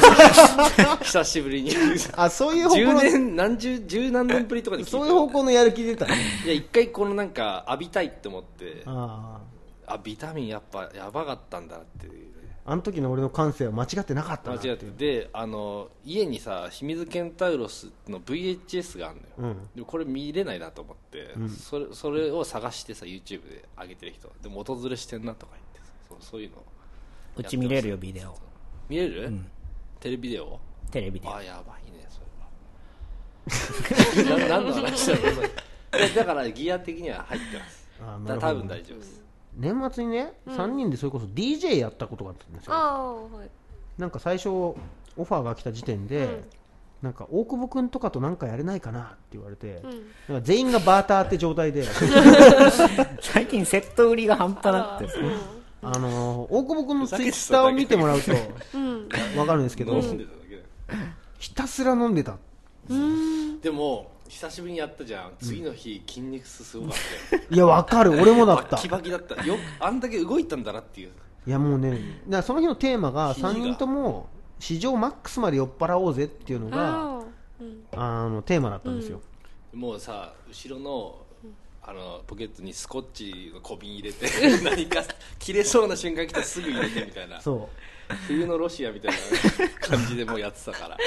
Speaker 5: 久しぶりに
Speaker 1: あ、そういう方向
Speaker 5: 10
Speaker 1: の、
Speaker 5: 年何十十何年ぶりとかに聞いた
Speaker 1: そういう方向のやる気出た ね。
Speaker 5: いや一回このなんか浴びたいって思って
Speaker 1: あ
Speaker 5: あビタミンやっぱやばかったんだっていうね
Speaker 1: あ、あの時の俺の感性は間違ってなかった
Speaker 5: 間
Speaker 1: な。
Speaker 5: 違ってであの家にさ清水ケンタウロスの VHS があるのよ、
Speaker 1: うん
Speaker 5: でもこれ見れないなと思って、それそれを探してさ YouTube で上げてる人でも訪れしてんなとか言ってさそうそういうの
Speaker 3: うち見れるよ、ビデオ。
Speaker 5: 見れる、テレビデオ
Speaker 3: テレビで。
Speaker 5: あやばいねそれはな何の話だろうそれいやだからギア的には入ってます
Speaker 1: あな
Speaker 5: だ
Speaker 1: る
Speaker 5: 多
Speaker 1: ほど
Speaker 5: 分大丈夫です
Speaker 1: 年末にね、3人でそれこそ DJ やったことがあったんです
Speaker 4: あ
Speaker 1: よ。
Speaker 4: あはい
Speaker 1: なんか最初、オファーが来た時点で、なんか大久保君とかとなんかやれないかなって言われて、なんか全員がバーターって状態で、
Speaker 3: 最近セット売りが半端なくてさ
Speaker 1: あのー大久保君のツイッターを見てもらうとわかるんですけど、
Speaker 5: 飲んでただけだよ
Speaker 1: ひたすら飲んでた。
Speaker 5: でも久しぶりにやったじゃん次の日筋肉痛すごかったよ
Speaker 1: いや、わかる。 俺もだっ
Speaker 5: バ
Speaker 1: た
Speaker 5: ッキ。バキだったよくあんだけ動いたんだなっていう
Speaker 1: いやもうね、だからその日のテーマが
Speaker 5: 日が
Speaker 1: 3人とも史上マックスまで酔っ払おうぜっていうのが
Speaker 4: あ
Speaker 1: あのテーマだったんですよ、
Speaker 5: もうさ後ろのあのポケットにスコッチの小瓶入れて 何か切れそうな瞬間来たらすぐ入れてみたいな
Speaker 1: そ
Speaker 5: 冬のロシアみたい な感じでもうやってたから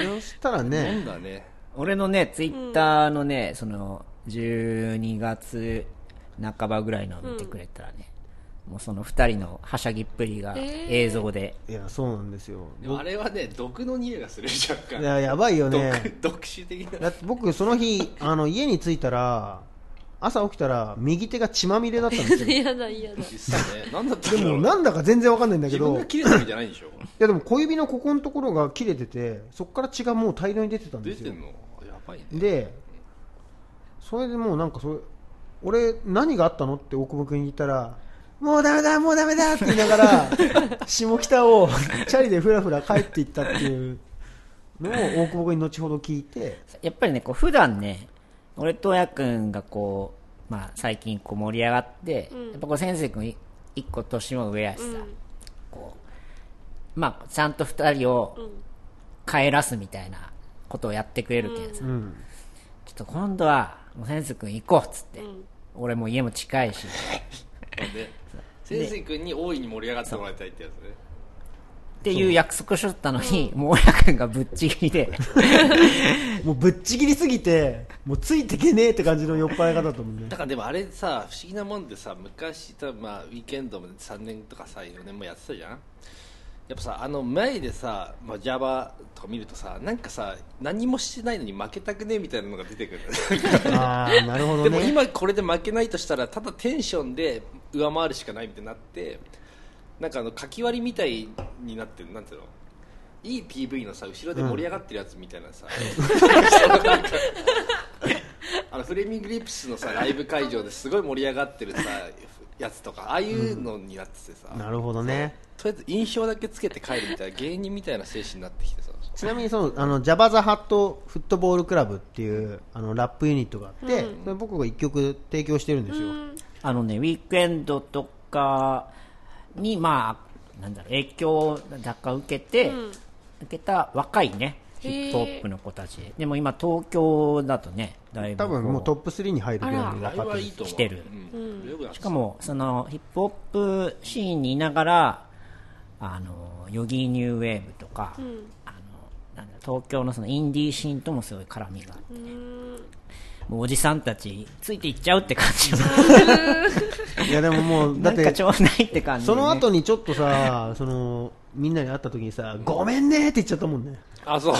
Speaker 1: うそしたら
Speaker 5: 飲
Speaker 1: ね
Speaker 5: んだね
Speaker 3: 俺のね、ツイッターのね、その、12月半ばぐらいのを見てくれたらね、もうその二人のはしゃぎっぷりが映像で、
Speaker 1: いやそうなんですよ
Speaker 5: でもあれはね毒の匂いがするじゃんか
Speaker 1: いややばいよ
Speaker 5: 毒
Speaker 1: ね
Speaker 5: 毒種的な
Speaker 1: だって僕その日あの家に着いたら朝起きたら右手が血まみれだったん ですよ
Speaker 4: 嫌だ嫌だ
Speaker 5: 実際 ね何だったん
Speaker 1: で
Speaker 5: だろ
Speaker 1: も
Speaker 5: う
Speaker 1: なんだか全然わかんないんだけ
Speaker 5: 自分
Speaker 1: どい
Speaker 5: が切れたわけじゃないんでしょ
Speaker 1: やでも小指のここのところが切れててそこから血がもう大量に出てたんで
Speaker 5: 出
Speaker 1: すよ
Speaker 5: てんのや ばいね
Speaker 1: でそれでもうなんかそれ俺何があったのって大久保君に言ったらもうダメだもうダメだって言いなが ら下北をチャリでふらふら帰っていったっていうのを大久保君に後ほど聞いて
Speaker 3: やっぱりね、こう普段ね、俺とやくんがこう、まあ最近こう盛り上がって、やっぱこう先生くんい一個年も上やしさ、こう、まあちゃんと二人を帰らすみたいなことをやってくれるけんさ、
Speaker 1: うん
Speaker 3: ちょっと今度はもう先生くん行こうっつって、俺も家も近いし、
Speaker 5: で先生君に大いに盛り上がってもらいたいってやつね
Speaker 3: っていう約束しとったのに、もうやくんがぶっちぎりで、
Speaker 1: もうぶっちぎりすぎて、もうついてけねえって感じの酔っ払い方だったもんね
Speaker 5: だ。からでもあれさ不思議なもんでさ昔たまあウィーケンドも3年とかさ4年もやってたじゃんやっぱさあの前でさ、まあ、Java とか見るとさなんかさ何もしてないのに負けたくねえみたいなのが出てくる
Speaker 1: ああ、なるほど
Speaker 5: でも
Speaker 1: ね。
Speaker 5: 今これで負けないとしたらただテンションで上回るしかないみたいになってなんかあのかき割りみたいになってるなんていうのいい PV のさ後ろで盛り上がってるやつみたいなさ、なんか あのフレーミングリップスのさライブ会場ですごい盛り上がってるさやつとかああいうのになっててさ、
Speaker 1: なるほどね。
Speaker 5: とりあえず印象だけつけて帰るみたいな芸人みたいな精神になってきてさ
Speaker 1: ちなみにその、あの、ジャバザハットフットボールクラブっていう、あの、ラップユニットがあって、それ僕が一曲提供してるんですよ。
Speaker 3: あのね、ウィークエンドとかに、まあ、なんだろう、影響をなんか受けて、受けた若いね、ヒ
Speaker 4: へー
Speaker 3: ップホップの子たちで。でも今、東京だとね、だいぶこ
Speaker 1: 多
Speaker 3: う。
Speaker 1: 分もうトップ3に入るぐらいの
Speaker 5: ライブ
Speaker 1: 若
Speaker 5: は
Speaker 1: 手
Speaker 5: いい
Speaker 1: で
Speaker 5: と思う
Speaker 3: 来てる
Speaker 5: うん、よくなって
Speaker 3: しかも、その、ヒップホップシーンにいながら、あの、ヨギーニューウェーブとか、あの、なんだ、東京のそのインディーシーンともすごい絡みがあってね。もうおじさんたち、ついていっちゃうって感じも。
Speaker 1: いやでももう、だ
Speaker 3: な
Speaker 1: っ
Speaker 3: んか
Speaker 1: て、
Speaker 3: ちょうどないって感じで
Speaker 1: そ
Speaker 3: ね、
Speaker 1: の後にちょっとさ、その、みんなに会った時にさ、ごめんねって言っちゃったもんね。
Speaker 5: あ そ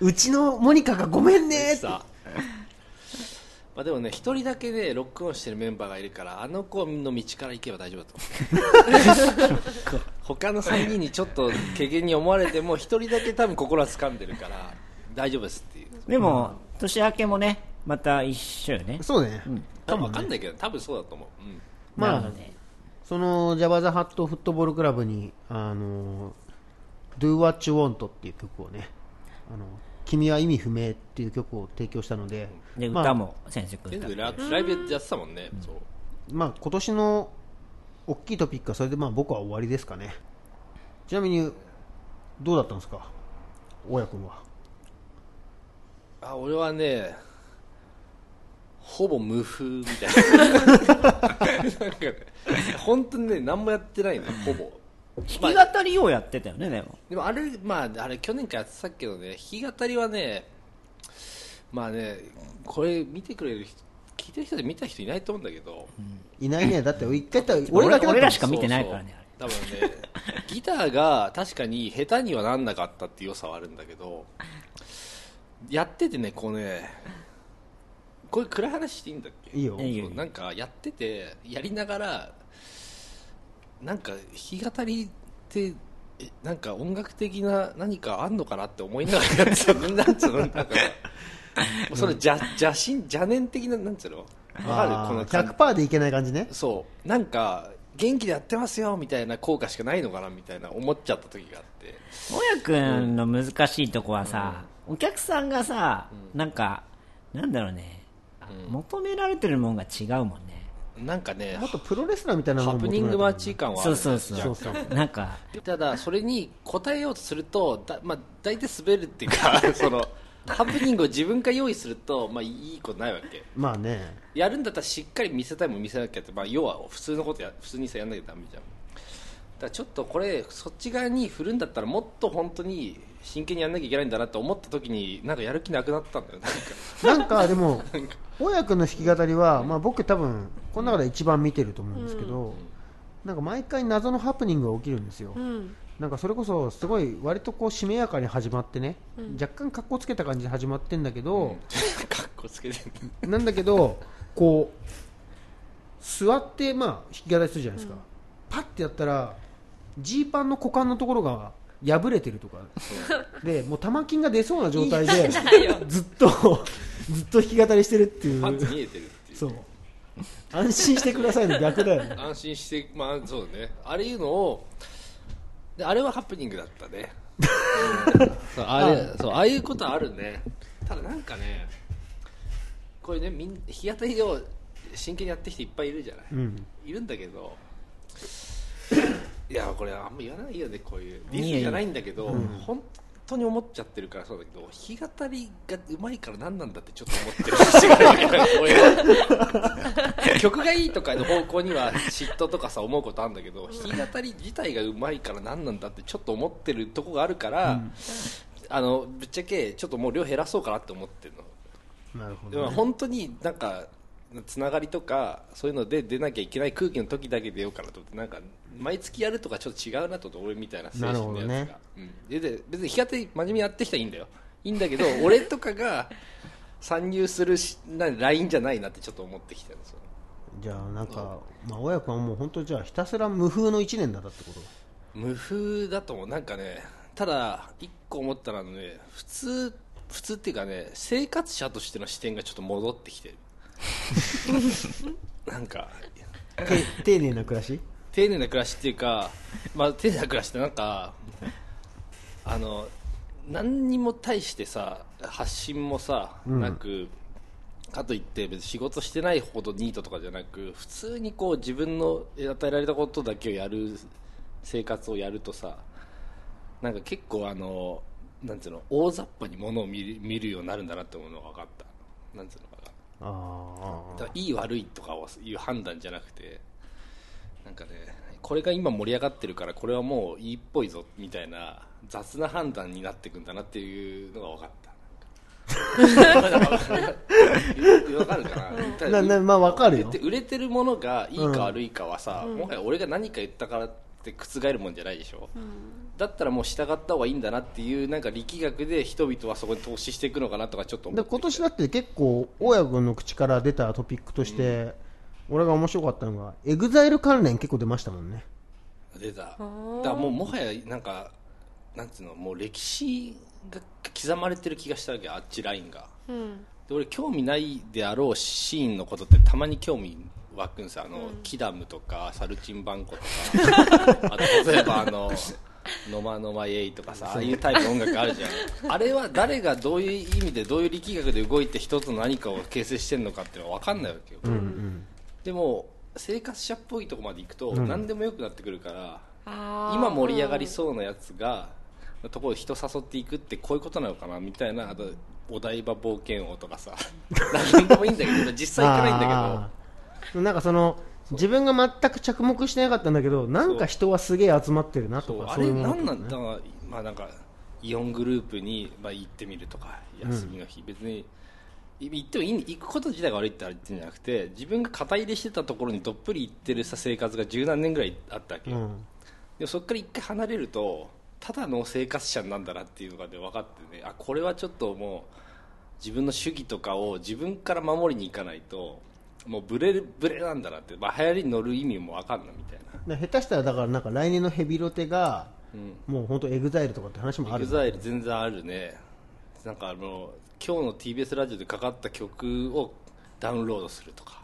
Speaker 5: う
Speaker 1: うちのモニカがごめんねって。
Speaker 5: さまあでもね一人だけねロックオンしてるメンバーがいるからあの子の道から行けば大丈夫だと 思う他の3人にちょっと軽減に思われても一人だけ多分心は掴んでるから大丈夫ですっていう
Speaker 3: でも、年明けもね、また一緒よね。
Speaker 1: そうね。
Speaker 5: 多分わかんないけど多分そうだと思う、うん
Speaker 1: ま
Speaker 3: な
Speaker 1: あ
Speaker 3: の、で
Speaker 1: そのジャバザハットフットボールクラブに、あの、Do What You Want っていう曲をね、あの、君は意味不明っていう曲を提供したので、
Speaker 3: で、
Speaker 1: まあ
Speaker 3: 歌も先生く
Speaker 5: 全
Speaker 3: 歌っ
Speaker 5: 部
Speaker 3: て。
Speaker 5: ラライブやってたもんね、そう
Speaker 1: まあ今年の大きいトピックはそれでまあ僕は終わりですかね。ちなみに、どうだったんですか大家君は。
Speaker 5: あ俺はねほぼ無風みたいな なんかね本当にね何もやってないのよほぼ
Speaker 3: 弾き語りをやってたよね、でも。
Speaker 5: でもあれ、まあ、あれ去年からやってたけどね、弾き語りはね、まあね、これ見てくれる人、聞いてる人で見た人いないと思うんだけど、
Speaker 1: いないね。だって一回言ったら
Speaker 3: 俺
Speaker 1: 俺だけだったも
Speaker 3: 俺
Speaker 1: ん
Speaker 3: らしか見てないからね、あれ。
Speaker 5: そうそう多分ね、ギターが確かに下手にはなんなかったっていう良さはあるんだけど、やっててね、こうね、これ暗い話していいんだっけ
Speaker 1: いいよ。
Speaker 3: いい
Speaker 5: そうなんかやっててやりながらなんか弾き語りってえなんか音楽的な何かあんのかなって思いながらや ってたなんつうのなんかもうそれ邪邪神邪念的ななんつうのわかるこの感
Speaker 1: 100%でいけない感じね。
Speaker 5: そうなんか元気でやってますよみたいな効果しかないのかなみたいな思っちゃった時があって
Speaker 3: もやくんの難しいとこはさ、お客さんがさ、なんか、なんだろうね、求められてるもんが違うもんね。
Speaker 5: なんかね
Speaker 1: もっとプロレスラーみたいなの
Speaker 5: ハ
Speaker 1: を
Speaker 5: プ
Speaker 1: 求め
Speaker 5: ニ
Speaker 1: ら
Speaker 5: ン
Speaker 1: れた
Speaker 5: グ
Speaker 1: もんね
Speaker 5: マッチ感はある
Speaker 3: そうそうそう。
Speaker 1: そうそう
Speaker 3: なんか、
Speaker 5: ただそれに答えようとするとだ、まあ、大体滑るっていう かそのハプニングを自分が用意すると、まあ、いいことないわけ
Speaker 1: まあね。
Speaker 5: やるんだったらしっかり見せたいもん見せなきゃって、まあ、要は普通のことや普通にさやんなきゃダメじゃんだからちょっとこれそっち側に振るんだったらもっと本当に真剣にやんなきゃいけないんだなと思った時になんかやる気なくなったんだよなん か
Speaker 1: なんかでも、大家君の弾き語りは、まあ、僕、多分この中で一番見てると思うんですけど、なんか毎回謎のハプニングが起きるんですよ、
Speaker 4: うん
Speaker 1: なんかそれこそすごい割とこうしめやかに始まってね、若干かっこつけた感じで始まってんだけど、
Speaker 5: かっこつけてる
Speaker 1: なんだけど、こう座ってまあ弾き語りするじゃないですか、パッてやったら、ジーパンの股間のところが破れてるとか、でもう玉金が出そうな状態 で、ずっと、ずっと弾き語りしてるっていう。
Speaker 5: パンツ見えてるっていう
Speaker 1: そう。安心してくださいの逆だよね。
Speaker 5: 安心してまあそうねあれいうのをであれはハプニングだった ねそうあれそうああいうことあるねただなんかねこれねみんな日当たりを真剣にやってきていっぱいいるじゃない、
Speaker 1: うん。
Speaker 5: いるんだけど いやこれあんま言わないよねこういうディ
Speaker 3: い
Speaker 5: ス
Speaker 3: やいや
Speaker 5: じゃないんだけど、ほん当に思っちゃってるからそうだけど弾き語りがうまいから何なんだってちょっと思ってる節がある俺 は曲がいいとかの方向には嫉妬とかさ思うことあるんだけど弾き語り自体がうまいから何なんだってちょっと思ってるとこがあるから、あのぶっちゃけちょっともう量減らそうかなって思ってるの。
Speaker 1: なるほ
Speaker 5: でも
Speaker 1: ど、ね。
Speaker 5: 本当になんかつながりとかそういうので出なきゃいけない空気の時だけ出ようかなと思ってなんか毎月やるとかちょっと違うなと思って俺みたいな精神のやつが、
Speaker 1: なるほ
Speaker 5: うんでで別に日当たり真面目にやってきたらいいんだよいいんだ けど俺とかが参入するしなラインじゃないなってちょっと思ってきてるんですよ
Speaker 1: じゃあ、なんか、まあ、親子はもう本当じゃあ、ひたすら無風の一年だったってこと
Speaker 5: 無風だと思うなんかねただ一個思ったらね普通普通っていうかね生活者としての視点がちょっと戻って きてるなんか
Speaker 1: て丁寧な暮らし
Speaker 5: 丁寧な暮らしっていうか、まあ、丁寧な暮らしってなんかあの何にも対してさ発信もさ、なくかといって別に仕事してないほどニートとかじゃなく普通にこう自分の与えられたことだけをやる生活をやるとさなんか結構あのなんつうの大雑把にものを見る見るようになるんだなって思うのが分かったなんつうのかな
Speaker 1: あ
Speaker 5: だからいい悪いとかをいう判断じゃなくてなんかねこれが今盛り上がってるからこれはもういいっぽいぞみたいな雑な判断になっていくんだなっていうのが分かった。わかるか
Speaker 1: あ。
Speaker 5: な
Speaker 1: な、な、まあ、わかるよ
Speaker 5: で。売れてるものがいい
Speaker 1: うん
Speaker 5: か悪いかはさ、もはや俺が何か言ったからって覆るもんじゃないでしょ、だったらもう従った方がいいんだなっていうなんか力学で人々はそこに投資していくのかなとかちょっと思
Speaker 1: で
Speaker 5: って
Speaker 1: 今年だって結構、親子の口から出たトピックとして、俺が面白かったのが、エグザイル関連結構出ましたもんね。
Speaker 5: 出ただからもうもはやなんかなんつうのもう歴史が刻まれてる気がしたわけあっちラインが
Speaker 4: うん
Speaker 5: で俺興味ないであろうシーンのことってたまに興味湧くんですよあの、キダムとかサルチンバンコと かあと例えばあのノマノマイエイとかさああいうタイプの音楽あるじゃんあれは誰がどういう意味でどういう力学で動いて一つの何かを形成してるのかっていうのは分かんないわけよ、でも生活者っぽいとこまで行くと何でもよくなってくるから、
Speaker 4: あー
Speaker 5: 今盛り上がりそうなやつが、ところ人誘っていくってこういうことなのかなみたいなあとお台場冒険王とかさ 何でもいいんだけど実際行かないんだ
Speaker 1: あーなんかその、自分が全く着目してなかったんだけど、なんか人はすげえ集まってるな
Speaker 5: けど
Speaker 1: と
Speaker 5: そう
Speaker 1: か、
Speaker 5: あ
Speaker 1: そうい
Speaker 5: れ
Speaker 1: うもの
Speaker 5: 何
Speaker 1: と
Speaker 5: な
Speaker 1: か
Speaker 5: ん
Speaker 1: ね
Speaker 5: だ、まあ、なんかイオングループに、まあ、行ってみるとか休みの日、別にい行ってもいい行くこと自体が悪いって言ってんじゃなくて自分が肩入れしてたところにどっぷり行ってるさ生活が十何年ぐらいあったわけ
Speaker 1: う
Speaker 5: よ、
Speaker 1: ん
Speaker 5: でもそこから一回離れるとただの生活者なんだなっていうのが、ね、分かってねあこれはちょっともう自分の主義とかを自分から守りに行かないともうブレるブレなんだなって、まあ、流行りに乗る意味も分かんないみたいな。
Speaker 1: で下手したら、だからなんか来年のヘビロテが、もう本当エグザイルとかって話もあ
Speaker 5: エ
Speaker 1: る
Speaker 5: グザイル全然あるねなんかあの今日の TBS ラジオでかかった曲をダウンロードするとか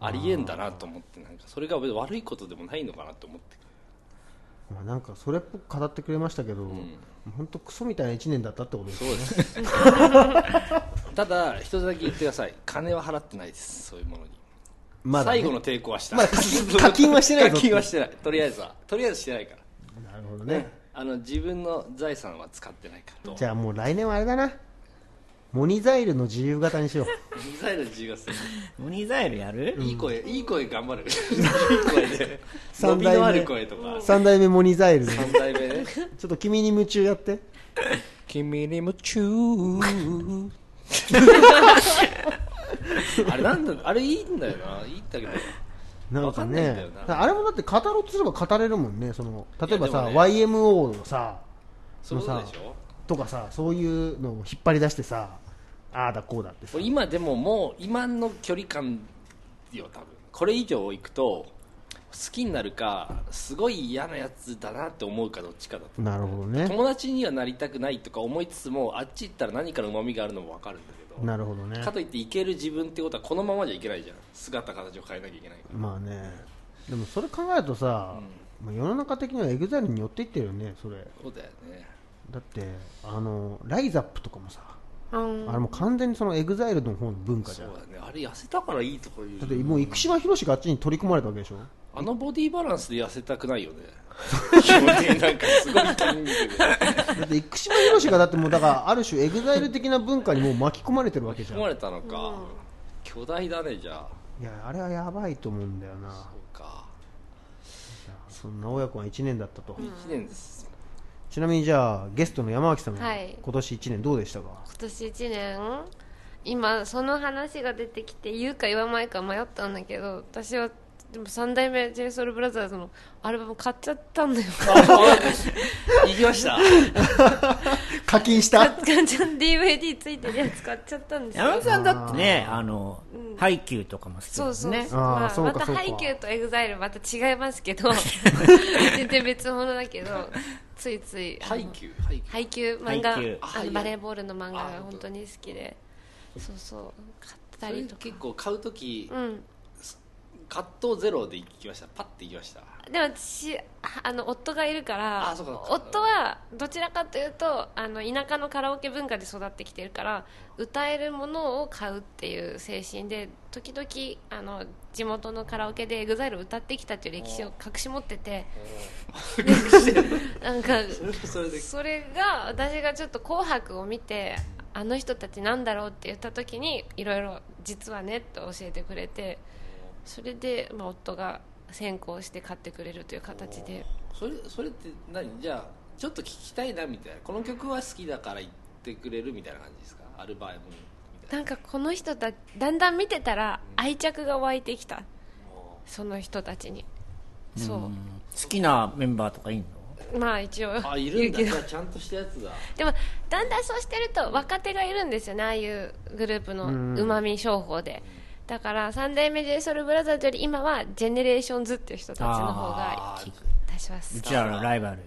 Speaker 5: ありえんだなと思ってなんかそれが悪いことでもないのかなと思って
Speaker 1: まあなんかそれっぽく語ってくれましたけど、本当クソみたいな1年だったってことです
Speaker 5: そうですただ一つだけ言ってください金は払ってないですそういうものに、
Speaker 1: まだね
Speaker 5: 最後の抵抗はした、
Speaker 1: まだ課 金課金はしてないぞ
Speaker 5: 課金はしてないとりあえずはとりあえずしてないから
Speaker 1: なるほどね。
Speaker 5: あの自分の財産は使ってないから
Speaker 1: じゃあもう来年はあれだな。モニザイルの自由形にしよう。
Speaker 5: ミサイルの自由がする
Speaker 3: モニザイルやる、
Speaker 5: いい声、いい 声頑張る。いい声で。伸
Speaker 1: 三代
Speaker 5: び
Speaker 1: 目
Speaker 5: のある声とか。
Speaker 1: 三代目モニザイルで。
Speaker 5: 三代目ね。
Speaker 1: ちょっと君に夢中やって。
Speaker 5: 君に夢中。 あれなんだあれいいんだよな。いいんだけど。
Speaker 1: なんか
Speaker 5: わかんないんだ
Speaker 1: ね
Speaker 5: よな
Speaker 1: だからあれもだって語ろうとすれば語れるもんね。その例えばさ、
Speaker 5: いやでも
Speaker 1: YMO のさ、
Speaker 5: そういうことでしょ
Speaker 1: とかさ、そういうのを引っ張り出してさ、ああだこうだってさ
Speaker 5: 俺。今でももう今の距離感よ多分これ以上いくと好きになるかすごい嫌なやつだなって思うかどっちかだと
Speaker 1: なるほどね。
Speaker 5: 友達にはなりたくないとか思いつつもあっち行ったら何かのうまみがあるのも分かるんだけど
Speaker 1: なるほどね。
Speaker 5: かといっていける自分ってことはこのままじゃいけないじゃん姿形を変えなきゃいけないか
Speaker 1: まあね。でもそれ考えるとさ、まあ世の中的にはエグザイルに寄っていってるよね、それ。
Speaker 5: らそうだよね
Speaker 1: だってあのライザップとかもさ、
Speaker 4: うん
Speaker 1: あれもう完全にそのエグザイルの方の文化じ
Speaker 5: そ
Speaker 1: ゃ
Speaker 5: うん
Speaker 1: だ
Speaker 5: だねあれ痩せたからいいとか言う
Speaker 1: ってもう生島博士があっちに取り込まれたわけでしょ
Speaker 5: あのボディバランスで痩せたくないよね 基本的になんかすごい筋肉で
Speaker 1: だって生島ひろしがだってもうだからある種エグザイル的な文化にもう巻き込まれてるわけじゃん
Speaker 5: 組まれたのか、巨大だねじゃあ
Speaker 1: いやあれはやばいと思うんだよな
Speaker 5: そうか
Speaker 1: そんな親子が1年だったと、
Speaker 5: 1年です
Speaker 1: ちなみにじゃあゲストの山脇さんは
Speaker 4: はい
Speaker 1: 今年1年どうでしたか、
Speaker 4: 今年1年今その話が出てきて言うか言わないか迷ったんだけど私はでも3代目 j s o u l b r o t h e r s のアルバム買っちゃったん だよ
Speaker 5: 行きました
Speaker 1: 課金し
Speaker 4: 買
Speaker 1: た
Speaker 4: っちゃ DVD ついてるやつ買っちゃったんですよ
Speaker 3: 山本さんだってね、あの、ハイキューとかも好きです
Speaker 4: そ
Speaker 3: ね。
Speaker 4: うそうそう、
Speaker 1: あー
Speaker 4: まあ、
Speaker 1: そう
Speaker 4: ま
Speaker 1: か
Speaker 4: た
Speaker 1: そうか
Speaker 4: ハイキューとエグザイルまた違いま すけど全然別物だけどついついあの
Speaker 5: 配給配給
Speaker 4: 配給漫画
Speaker 3: 配給
Speaker 4: あ
Speaker 5: あ
Speaker 4: のバレーボールの漫画
Speaker 5: あ
Speaker 4: が本当に好きでそうそう買った
Speaker 5: そ
Speaker 4: り
Speaker 5: れ
Speaker 4: とか
Speaker 5: 結構買う時
Speaker 4: うん
Speaker 5: カットゼロで行きましたパッて行きました
Speaker 4: でも私あの夫がいるから
Speaker 5: あそうかそうか
Speaker 4: 夫はどちらかというとあの田舎のカラオケ文化で育ってきてるから歌えるものを買うっていう精神で時々あの地元のカラオケで EXILE 歌ってきたっていう歴史を隠し持ってて なんか
Speaker 5: それはそれで
Speaker 4: それが私がちょっと「紅白」を見てあの人たちなんだろうって言った時にいろいろ実はねと教えてくれてそれで、まあ、夫が先行して買ってくれるという形で
Speaker 5: それそれって何じゃあちょっと聞きたいなみたいなこの曲は好きだから言ってくれるみたいな感じですかアルバムみたい
Speaker 4: なんかこの人ただんだん見てたら愛着が湧いてきたその人たちにそ
Speaker 3: 好きなメンバーとかいいの
Speaker 4: うまあ一応
Speaker 5: なあいるんだ
Speaker 4: 言うけ
Speaker 5: じ
Speaker 4: ど
Speaker 5: ゃあちゃんとしたやつだ
Speaker 4: でもだんだんそうしてると若手がいるんですよねああいうグループ
Speaker 1: うん
Speaker 4: のうまみ商法でだから三代目 j s o u l b r o t h e r s より今はジェネレーションズっていう人たちの方が
Speaker 5: あ
Speaker 4: 私は
Speaker 3: う
Speaker 4: 好
Speaker 3: ちらのライバルよ。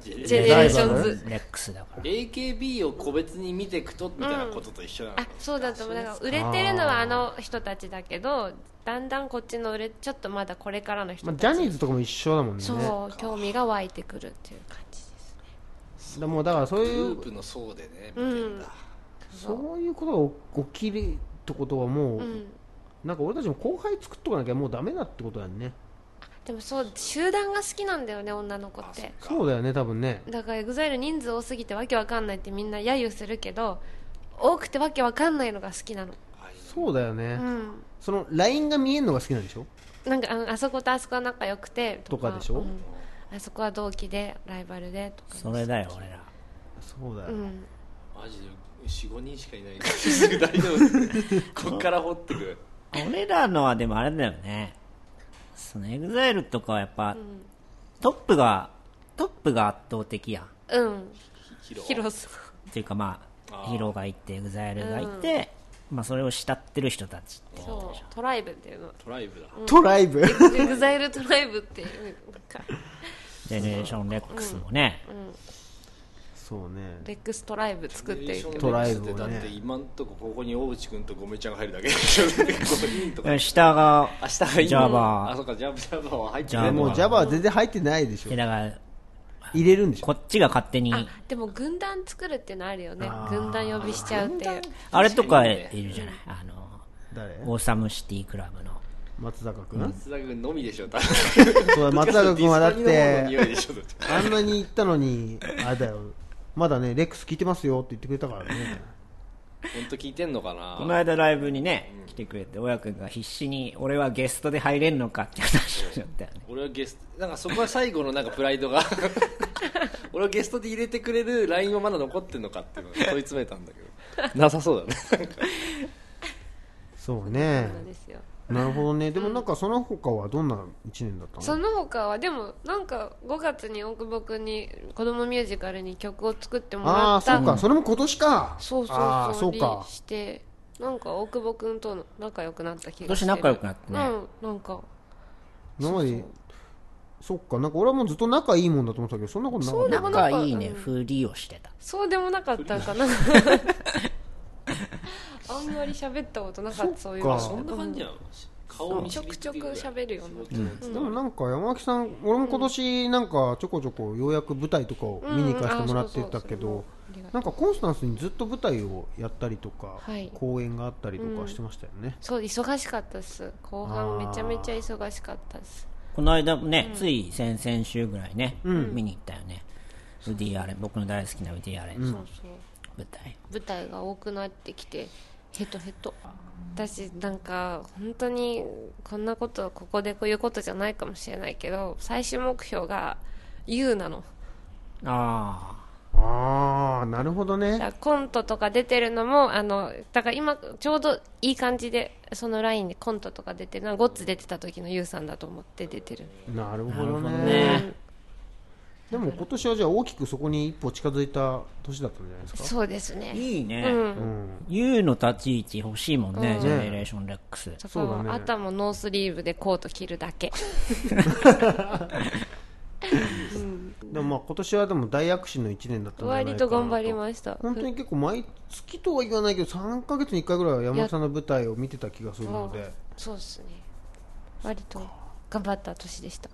Speaker 5: ジ
Speaker 4: き
Speaker 5: ェ
Speaker 4: ジェネレーションズ
Speaker 3: レックスだから。
Speaker 5: AKB を個別に見ていくとみたいなことと一緒なの、
Speaker 4: あそうだと思うだから売れてるのはあの人たちだけどだんだんこっちの売れちょっとまだこれからの人
Speaker 1: まあ、
Speaker 4: たち、
Speaker 1: ジャニーズとかも一緒だもんね
Speaker 4: そう興味が湧いてくるっていう感じです
Speaker 1: だもうだからそう
Speaker 5: グル
Speaker 1: い
Speaker 5: ー
Speaker 1: う
Speaker 5: プの層でね見てんだ、
Speaker 1: そういうことが起きるってことはもう、
Speaker 4: うん
Speaker 1: なんか俺たちも後輩作っとかなきゃもうダメだってことだよね
Speaker 4: でもそう集団が好きなんだよね女の子っ
Speaker 5: あそ
Speaker 4: て
Speaker 5: っか
Speaker 1: そうだよね多分ね
Speaker 4: だから EXILE 人数多すぎてわけわかんないってみんな揶揄するけど多くてわけわかんないのが好きなの
Speaker 5: あいいな
Speaker 1: そうだよ
Speaker 4: う
Speaker 1: ね、
Speaker 4: ん
Speaker 1: そのラインが見えるのが好きなんでしょ
Speaker 4: なんかあのあそことあそこは仲良くてとか
Speaker 1: とかでしょ
Speaker 4: うんあそこは同期でライバルでとか
Speaker 3: それだよ、俺ら。
Speaker 1: そうだよ、
Speaker 4: うん
Speaker 5: マジで45人しかいないすぐ大丈夫こっから掘ってく
Speaker 3: 俺らのはでもあれだよね。そのエグザイルとかはやっぱ、トップが、トップが圧倒的やん。
Speaker 4: うん
Speaker 5: ヒロ
Speaker 4: 広さ
Speaker 3: っていうかま
Speaker 5: あ
Speaker 3: あ、
Speaker 5: ー
Speaker 3: ヒロがいて、エグザイルがいて、まあそれを慕ってる人たちっていうこと
Speaker 4: そ
Speaker 3: でし
Speaker 4: うトライブっていうの
Speaker 5: トライブだ、
Speaker 1: トライブ
Speaker 4: EXILE トライブっていうか
Speaker 3: ょ。ジェネレーションレックスもね。
Speaker 1: そうね
Speaker 4: レックストライブ作っていく
Speaker 1: トライブ
Speaker 5: で
Speaker 1: をね
Speaker 5: だって今んとこここに大内君とごめちゃんが入るだ けでしょ5人とか
Speaker 3: 下が、
Speaker 5: 明日がいい
Speaker 3: ジャ
Speaker 5: あ
Speaker 3: バ
Speaker 5: そうかジャバジャバは入って
Speaker 3: ジャ
Speaker 5: な
Speaker 3: バ
Speaker 5: い
Speaker 1: でも
Speaker 5: の
Speaker 1: うジ
Speaker 5: か
Speaker 1: ャバは全然入ってないでしょ
Speaker 3: ー。えだから、
Speaker 1: 入れるんでしょ
Speaker 3: こっちが勝手に、
Speaker 4: あでも軍団作るっていうのあるよね軍団呼びしちゃうっていう
Speaker 3: あれとかいるじゃない、あ
Speaker 1: 誰
Speaker 3: の、オーサムシティクラブの。
Speaker 1: 松坂君、
Speaker 5: 松田君のみでしょ多分
Speaker 1: そうだ 松坂君はだっ
Speaker 5: ディスカニの方の
Speaker 1: て
Speaker 5: 匂いでしょだって
Speaker 1: あんなに言ったのにあれだよまだねレックス聞いてますよって言ってくれたからね
Speaker 5: 本当聞いてんのか
Speaker 3: この
Speaker 5: な
Speaker 3: 間ライブにね、来てくれて、親くんが必死に、俺はゲストで入れんのかって話をしちゃったよね。
Speaker 5: 俺はゲストなんかそこは最後のなんかプライドが 俺をゲストで入れてくれる LINE はまだ残ってんのかっていうのを問い詰めたんだけどなさそうだねなんか
Speaker 1: そうね
Speaker 4: そうですよ
Speaker 1: なるほどねでもなんかその他はどんな1年だったの
Speaker 4: その他はでもなんか5月に大久保君に子供ミュージカルに曲を作っても
Speaker 1: あ
Speaker 4: ら
Speaker 1: あ
Speaker 4: った
Speaker 1: そうか、それも今年か
Speaker 4: そうそう
Speaker 1: ああ
Speaker 4: そ
Speaker 1: そううか
Speaker 4: にしてなんか大久保君との仲良くなった気
Speaker 3: 今
Speaker 4: がして
Speaker 3: 年
Speaker 4: る
Speaker 3: 仲良くなって
Speaker 4: うん
Speaker 3: ね。
Speaker 4: なんか
Speaker 1: 今までそっかなんか俺はもうずっと仲いいもんだと思ってたけどそんなことなかっ
Speaker 4: そう
Speaker 1: た
Speaker 4: なの
Speaker 3: 仲いいね、
Speaker 4: うん
Speaker 3: ふりをしてた。
Speaker 4: そうでもなかっ たかなあんまり喋ったことなかったそういう
Speaker 1: そっ
Speaker 4: の
Speaker 1: か
Speaker 5: そんな感じやん顔見
Speaker 4: ちょくちょく喋るよね
Speaker 1: でもなんか山脇さん俺も今年なんかちょこちょこようやく舞台とかを見に行かせてもらってたけ
Speaker 4: うんうんあ
Speaker 1: ど
Speaker 4: そうそうそれもありがとう
Speaker 1: なんかコンスタンスにずっと舞台をやったりとか、
Speaker 4: はい
Speaker 1: 公演があったりとかしてましたよね、
Speaker 4: そう忙しかったです後半
Speaker 1: あー
Speaker 4: めちゃめちゃ忙しかったです
Speaker 3: この間もね、つい先々週ぐらいね、
Speaker 1: ん
Speaker 3: 見に行ったよね。ウディアレン、僕の大好きなウディアレン
Speaker 4: そ
Speaker 3: の
Speaker 4: うそう
Speaker 3: 舞台。
Speaker 4: 舞台が多くなってきてヘトヘト私なんか本当にこんなことはここでこういうことじゃないかもしれないけど最終目標が U なの
Speaker 3: あ
Speaker 1: ああなるほど
Speaker 4: だか
Speaker 1: ね
Speaker 4: らコントとか出てるのもあのだから今ちょうどいい感じでそのラインでコントとか出てるのはゴッツ出てた時の U さんだと思って出てる
Speaker 1: なるほどね
Speaker 3: なるほどね
Speaker 1: でも今年はじゃあ大きくそこに一歩近づいた年だったんじゃないですか
Speaker 4: そうです
Speaker 3: あ。
Speaker 4: ね
Speaker 3: いいうね。
Speaker 4: ん
Speaker 1: うん、
Speaker 3: ユ、う、の立ち位置欲しいもんね、
Speaker 4: うん
Speaker 3: ジェネレーションレックス。
Speaker 4: そ
Speaker 1: そうだ
Speaker 4: こ
Speaker 1: ね
Speaker 4: あとはもうノースリーブでコート着るだけ
Speaker 1: でもまあ今年はでも大躍進の1年だったんじゃないか
Speaker 4: 割
Speaker 1: な
Speaker 4: と頑張りました
Speaker 1: 本当に結構毎月とは言わないけど3ヶ月に1回ぐらいは山本さんの舞台を見てた気がするので
Speaker 4: そうですね割と頑張った年でした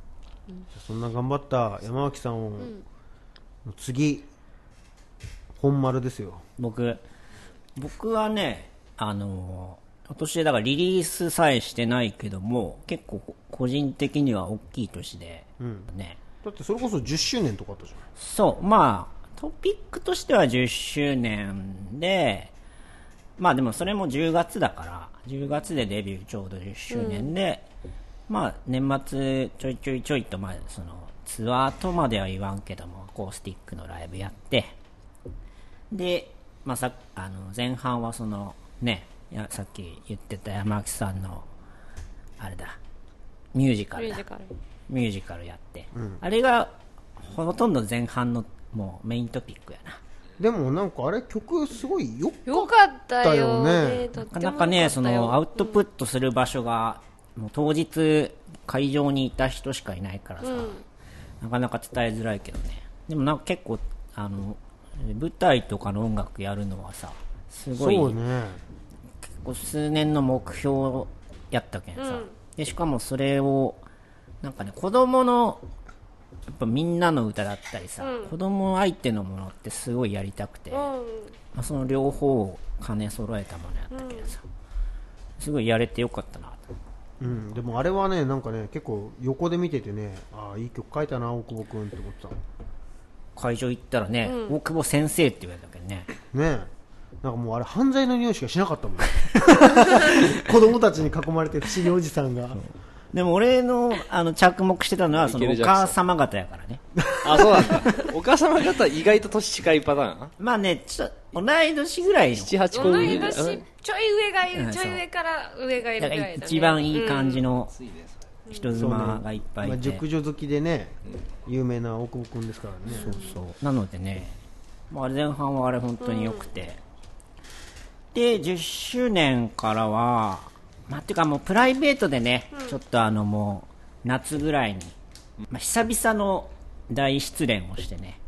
Speaker 1: そんな頑張った山脇さんを、次本丸ですよ
Speaker 3: 僕、僕はね、あのー、今年だからリリースさえしてないけども、結構こ個人的には大きい年で、ね。
Speaker 1: だってそれこそ10周年とかあったじゃ
Speaker 3: そう、まあ、トピックとしては10周年で、まあでもそれも10月だから、10月でデビューちょうど10周年で、まあ年末ちょいちょいちょいと、まあそのツアーとまでは言わんけども、アコースティックのライブやって、で、まあ、さあの前半はそのねやさっき言ってた山脇さんのあれだミュージカル
Speaker 4: ミ
Speaker 3: だ
Speaker 4: ュージカル
Speaker 3: ミュージカルやって、あれがほとんど前半のもうメイントピックやなん
Speaker 1: でもなんかあれ曲すごいよっ
Speaker 4: よかったよ
Speaker 1: だよね
Speaker 4: ねとっ
Speaker 3: な
Speaker 4: て
Speaker 3: か
Speaker 4: も
Speaker 3: なかねそのアウ
Speaker 4: ト
Speaker 3: トプットする場所が、もう当日会場にいた人しかいないからさ、なかなか伝えづらいけどねでもなんか結構あの舞台とかの音楽やるのはさすごい
Speaker 1: そうね
Speaker 3: こう数年の目標やったけんさ、でしかもそれをなんかね子供のやっぱみんなの歌だったりさ、子供相手のものってすごいやりたくて、まあ、その両方を兼ね揃えたものやったけどさ、すごいやれてよかったなと
Speaker 1: うん、でもあれはねなんかね結構横で見ててねああいい曲書いたな大久保君って思ってた
Speaker 3: 会場行ったらね、大久保先生って言われたけどね
Speaker 1: ねえなんかもうあれ犯罪の匂いしかしなかったもん 子供たちに囲まれて不思議おじさんが
Speaker 3: でも俺のあの着目してた のはその
Speaker 5: ミ
Speaker 3: お
Speaker 5: ケルジャクソン
Speaker 3: 母様方やからね
Speaker 5: あ、そうなんだ。お母様方意外と年近いパターン
Speaker 3: まあねちょっと同い年ぐらいの
Speaker 5: 七八個
Speaker 4: 同
Speaker 5: 上
Speaker 4: い年ちょい上がいるちょい上から上がいる
Speaker 3: だ
Speaker 4: ぐ
Speaker 3: からら
Speaker 4: いだ、ね、
Speaker 3: 一番いい感じの、
Speaker 5: ついねそれ
Speaker 3: 人妻がいっぱいい
Speaker 1: まあ、
Speaker 3: て、
Speaker 1: 熟女好きでね有名な大久保君ですからね
Speaker 3: そうなのでね、まあ、前半はあれ本当に良くて、で10周年からはまあていうかもうプライベートでね、ちょっとあのもう夏ぐらいに、まあ、久々の大失恋をしてね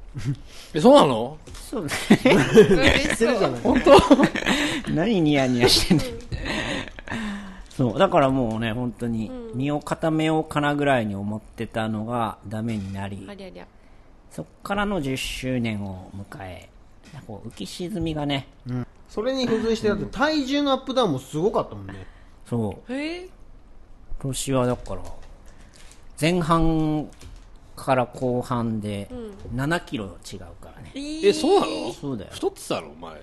Speaker 5: え、そうなの
Speaker 3: そう
Speaker 4: 嬉しそう
Speaker 5: 本当
Speaker 3: 何ニヤニヤしてんの そうだからもうね本当に身を固めようかなぐらいに思ってたのがダメになり、
Speaker 4: ありゃりゃ
Speaker 3: そっからの10周年を迎え、こう浮き沈みがね、
Speaker 1: それに付随してだって体重のアップダウンもすごかったもんね
Speaker 3: そう、
Speaker 4: え
Speaker 3: 今年はだから、前半から後半で7キロ違うからね。
Speaker 4: ー、
Speaker 5: え、そうなの
Speaker 3: そうだよ。
Speaker 5: 太ってたの前。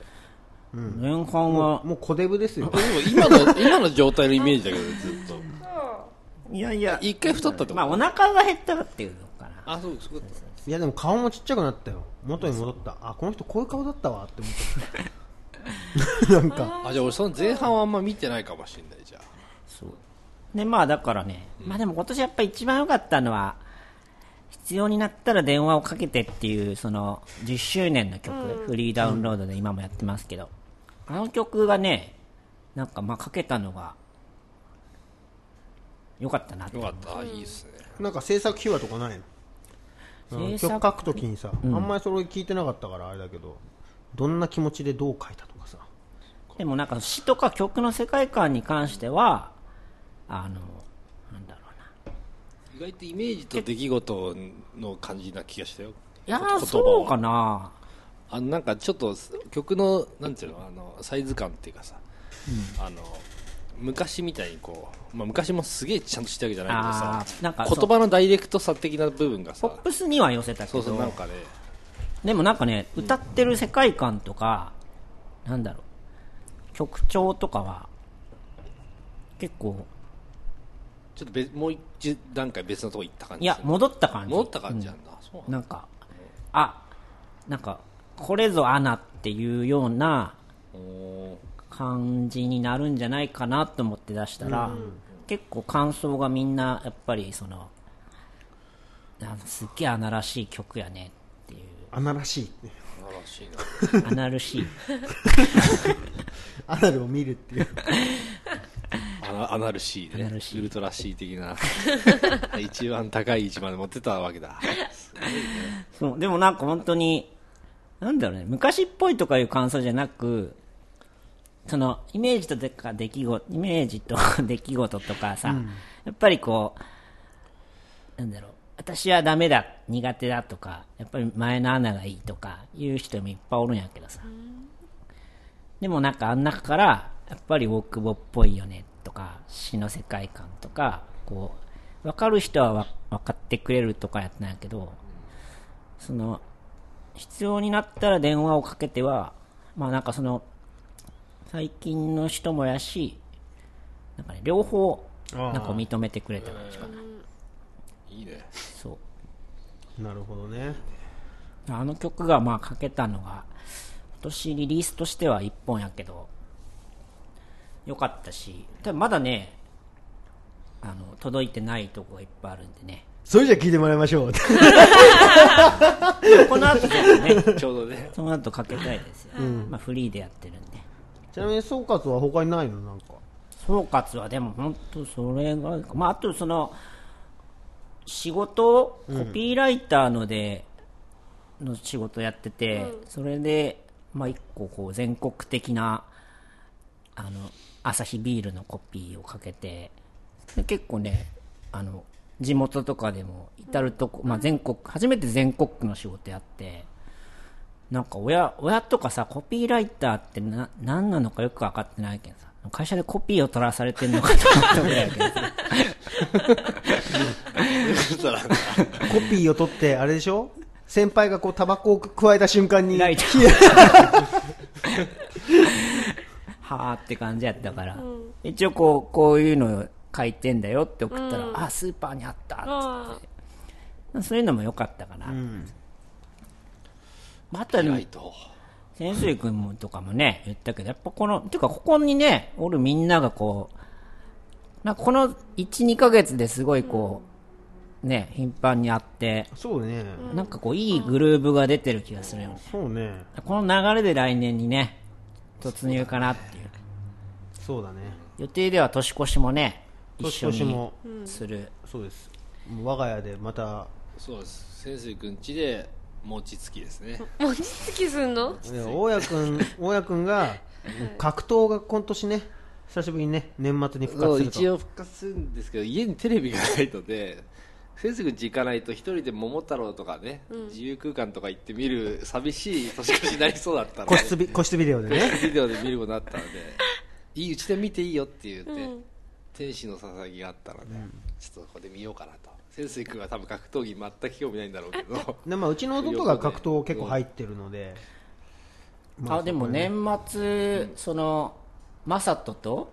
Speaker 3: 前半は、
Speaker 1: もう小デブですよ
Speaker 5: でも今の、 今の状態のイメージだけどね、ずっと。
Speaker 3: いやいや、
Speaker 5: 一回太ったってこと
Speaker 3: まあお腹が減ったっていうのかな。
Speaker 5: あ、そう、そういうこと
Speaker 1: いやでも顔もちっちゃくなったよ元に戻ったあこの人こういう顔だったわって思ったなんか
Speaker 5: あ、じゃあ俺その前半はあんま見てないかもしれない、じゃあ。
Speaker 3: そう。で、まあだからね、まあでも今年やっぱ一番良かったのは、必要になったら電話をかけてっていう、その10周年の曲、フリーダウンロードで今もやってますけど、あの曲がね、なんかまあかけたのが、良かったなって
Speaker 5: よ。かった。あ、いいっすね。
Speaker 1: なんか制作秘話とかないの、うん
Speaker 3: 制
Speaker 1: 曲
Speaker 3: 作
Speaker 1: 書くときにさ、あんまりそれ聞いてなかったからあれだけどどんな気持ちでどう書いたとかさ
Speaker 3: でもなんか詩とか曲の世界観に関しては、あの、なんだろうな。
Speaker 5: 意外とイメージと出来事の感じな気がしたよ。
Speaker 3: いや
Speaker 5: 言葉
Speaker 3: ー、
Speaker 5: は
Speaker 3: そうかな。
Speaker 5: あのなんかちょっと曲のなんていうのあのサイズ感っていうかさ、あの昔みたいにこう、まあ、昔もすげえちゃんとしてるわけじゃない
Speaker 3: あ
Speaker 5: けど
Speaker 3: ーなんか
Speaker 5: さ言葉のダイレクトさ的な部分が
Speaker 3: ポ
Speaker 5: さ
Speaker 3: ップスには寄せたけ
Speaker 5: そうそう
Speaker 3: ど
Speaker 5: なんかね
Speaker 3: でもなんかね歌ってる世界観とか、なんだろう曲調とかは結構
Speaker 5: ちょっと別もう一段階別のとこ行った感じ
Speaker 3: いや
Speaker 5: する
Speaker 3: 戻った感じ
Speaker 5: 戻った感じなんだ、そうな
Speaker 3: な
Speaker 5: んだ
Speaker 3: んかあなんかこれぞアナっていうような
Speaker 5: おー
Speaker 3: 感じになるんじゃないかなと思って出したら、結構感想がみんなやっぱりそのあすっげえアナらしい曲やねっていう
Speaker 1: 穴らしいね
Speaker 5: 素晴らしいな
Speaker 3: アナらしい
Speaker 1: アナルを見るっていう
Speaker 5: アナアナル C
Speaker 3: ア
Speaker 5: ね
Speaker 3: ナル C
Speaker 5: ウルトラ C 的な一番高い位置まで持ってたわけだ
Speaker 3: そう、でもなんか本当に、なんだろうね、昔っぽいとかいう感想じゃなく、その、イメージとでか出来事、イメージと出来事とかさ、やっぱりこう、なんだろう、私はダメだ、苦手だとか、やっぱり前の穴がいいとか、いう人もいっぱいおるんやけどさ。でもなんかあん中から、やっぱり大久保っぽいよね、とか、詩の世界観とか、こう、わかる人はわ分かってくれるとかやったんやけど、その必要になったら電話をかけてはまあなんかその最近の人もやしなんかね両方なんか認めてくれた感じかない
Speaker 5: いね
Speaker 3: そう
Speaker 1: なるほどね
Speaker 3: あの曲がまあかけたのが今年リリースとしては1本やけどよかったし多分まだねあの届いてないとこがいっぱいあるんでね
Speaker 1: それじゃ聞いてもらいまし ょう
Speaker 3: この後ちょっとね
Speaker 5: ちょう どね
Speaker 3: その後かけたいですよ、まあフリーでやってるんで
Speaker 1: ちなみに総括は他にないのなんか
Speaker 3: 総括はでも本当それがまああとその仕事をコピーライターので、の仕事やってて、それでまあ一個こう全国的なあの朝日ビールのコピーをかけてで結構ねあの地元とかでも至るとこ、まあ全国初めて全国区の仕事やってなんか親親とかさコピーライターってな何なのかよく分かってないけどさ会社でコピーを取らされてるのかと思ったぐ らいやけどさ
Speaker 1: コピーを取ってあれでしょ先輩がこうタバコを加えた瞬間に
Speaker 3: ライター はあって感じやったから、一応こうこういうの書いてんだよって送ったら、あスーパーにあったっつって
Speaker 4: あ
Speaker 3: そういうのも良かったかな。まあ、あとはでも
Speaker 5: 意外、と
Speaker 3: 潜水君もとかもね、言ったけど、やっぱこの、ていうかここにね、おるみんながこう、なんかこの1、2ヶ月ですごいこう、ね、頻繁に会って、
Speaker 1: そうね、
Speaker 3: なんかこう、いいグルーブが出てる気がするよね。
Speaker 1: そうね
Speaker 3: この流れで来年にね、突入かなっていう。
Speaker 1: そうだね
Speaker 3: 予定では年越しもね、一
Speaker 1: 年
Speaker 3: 緒
Speaker 1: 越し
Speaker 3: に
Speaker 1: も
Speaker 3: する。
Speaker 1: そうですもう我が家でまた
Speaker 5: そうです潜水くんちで餅つきですね
Speaker 4: ー餅つきすんの
Speaker 1: いや大家 君大家君が格闘が今年ね久しぶりにね年末に復活
Speaker 5: そう
Speaker 1: する
Speaker 5: 一
Speaker 1: と
Speaker 5: 応復活するんですけど家にテレビがないので先生くん家行かないと一人で桃太郎とかね、自由空間とか行って見る寂しい年越しになりそうだったの
Speaker 1: 個
Speaker 5: で
Speaker 1: 室ビ 個室ビデオで
Speaker 5: 個
Speaker 1: ね
Speaker 5: 室ビデオで見ることになった のでいいうちで見ていいよって言って、天使のささぎがあったので、ちょっとここで見ようかなと先生くんは多分格闘技全く興味ないんだろうけど
Speaker 1: で、まあ、うちの弟が格闘結構入ってるので、ま
Speaker 3: あ、でも年末、その、マサトと、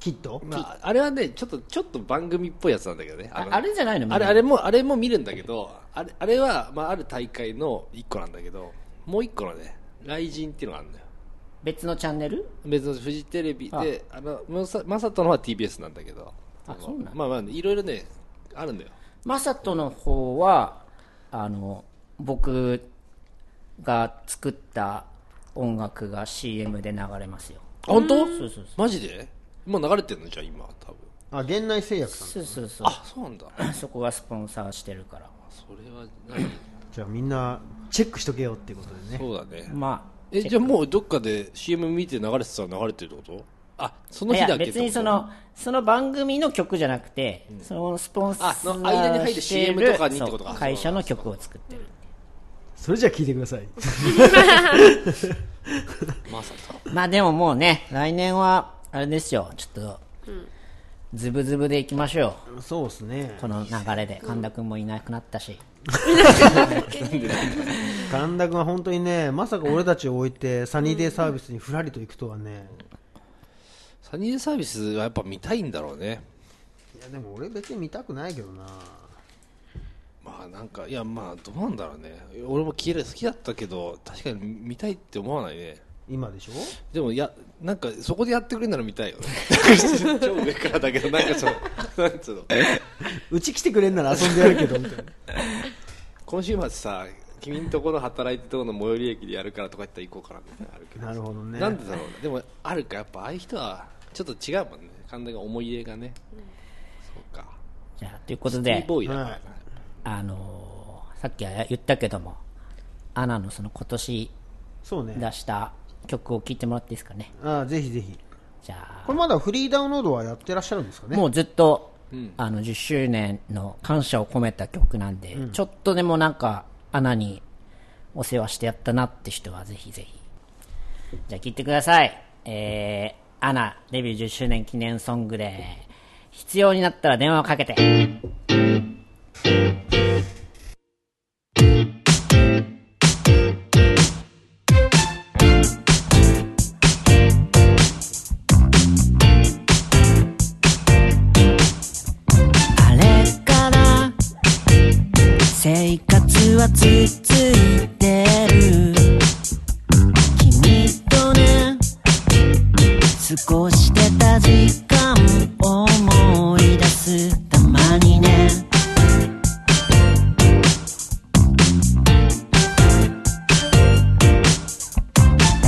Speaker 1: きっと、
Speaker 5: まあ、あれはねちょっとちょっと番組っぽいやつなんだけどね
Speaker 3: あ
Speaker 5: の
Speaker 3: あれじゃないのみんな
Speaker 5: あれあれもあれも見るんだけどあれあれは、まあ、ある大会の1個なんだけどもう1個のね雷神っていうのがあるんだよ
Speaker 3: 別のチャンネル
Speaker 5: 別のフジテレビであのまさまさとの方は TBS なんだけど
Speaker 3: あ
Speaker 5: の
Speaker 3: そうなんだ
Speaker 5: まあまあいろいろねあるんだよ
Speaker 3: マサトの方はあの僕が作った音楽が CM で流れますよ
Speaker 5: 本当
Speaker 3: そうそう
Speaker 5: マジでもう流れてるのじゃあ今多分
Speaker 1: あ源内製薬さん
Speaker 3: そうそうそう
Speaker 5: あそうなんだ
Speaker 3: そこがスポンサーしてるから
Speaker 5: それは何
Speaker 1: じゃあみんなチェックしとけよっていうことでね
Speaker 5: そうだね
Speaker 3: まあ
Speaker 5: えじゃあもうどっかで CM 見て流れてたら流れてるってことあその
Speaker 3: い
Speaker 5: 日
Speaker 3: や
Speaker 5: だけって
Speaker 3: 別
Speaker 5: こと
Speaker 3: にそのその番組の曲じゃなくて、そのスポンサー
Speaker 5: あその間に入る
Speaker 3: してる
Speaker 5: CM とかにってことか
Speaker 3: そう会社の曲を作ってる
Speaker 1: それじゃあ聞いてください
Speaker 5: まさと
Speaker 3: まあでももうね来年はあれですよ、ちょっと、ズブズブでいきましょ
Speaker 1: そうですね
Speaker 3: う。この流れで。神田くんもいなくなったし。
Speaker 1: 神田君は本当にねまさか俺たちを置いてサニーデイサービスにふらりと行くとはね
Speaker 5: サニーデイサービスはやっぱ見たいんだろうね
Speaker 1: いやでも俺別に見たくないけどな
Speaker 5: まあなんかいやまあどうなんだろうね俺も消える好きだったけど確かに見たいって思わないね
Speaker 1: 今でしょ
Speaker 5: でもいやなんかそこでやってくれるなら見たい よね超上からだけどなんかその なんつうの
Speaker 1: うち来てくれんなら遊んでやるけどみたいな
Speaker 5: 今週末さ君んとこの働いてるとこの最寄り駅でやるからとか言ったら行こうかなみたいなのある けど
Speaker 1: なるほどね
Speaker 5: なんでだろうねでもあるかやっぱああいう人はちょっと違うもんね神田が思い入れがね、そうか
Speaker 3: じゃあ、ということ
Speaker 5: キー
Speaker 3: で、
Speaker 5: ボーイだからな、
Speaker 1: はい
Speaker 3: あのーさっきは言ったけども、アナのその今年
Speaker 1: そうね
Speaker 3: 出した曲を聴いてもらっていいですかね。
Speaker 1: ああぜひぜひ
Speaker 3: じゃ
Speaker 1: これまだフリーダウンロードはやってらっしゃるんですか
Speaker 3: あ、
Speaker 1: ね
Speaker 3: もうずっと、あの、10周年の感謝を込めた曲なんで、ちょっとでもなんか、アナにお世話してやったなって人はぜひぜひ。じゃあ聴いてください。えー、アナ、デビュー10周年記念ソングで、必要になったら電話をかけて。あれから生活は続いてる君とね過ごしてた時間を思い出すたまにね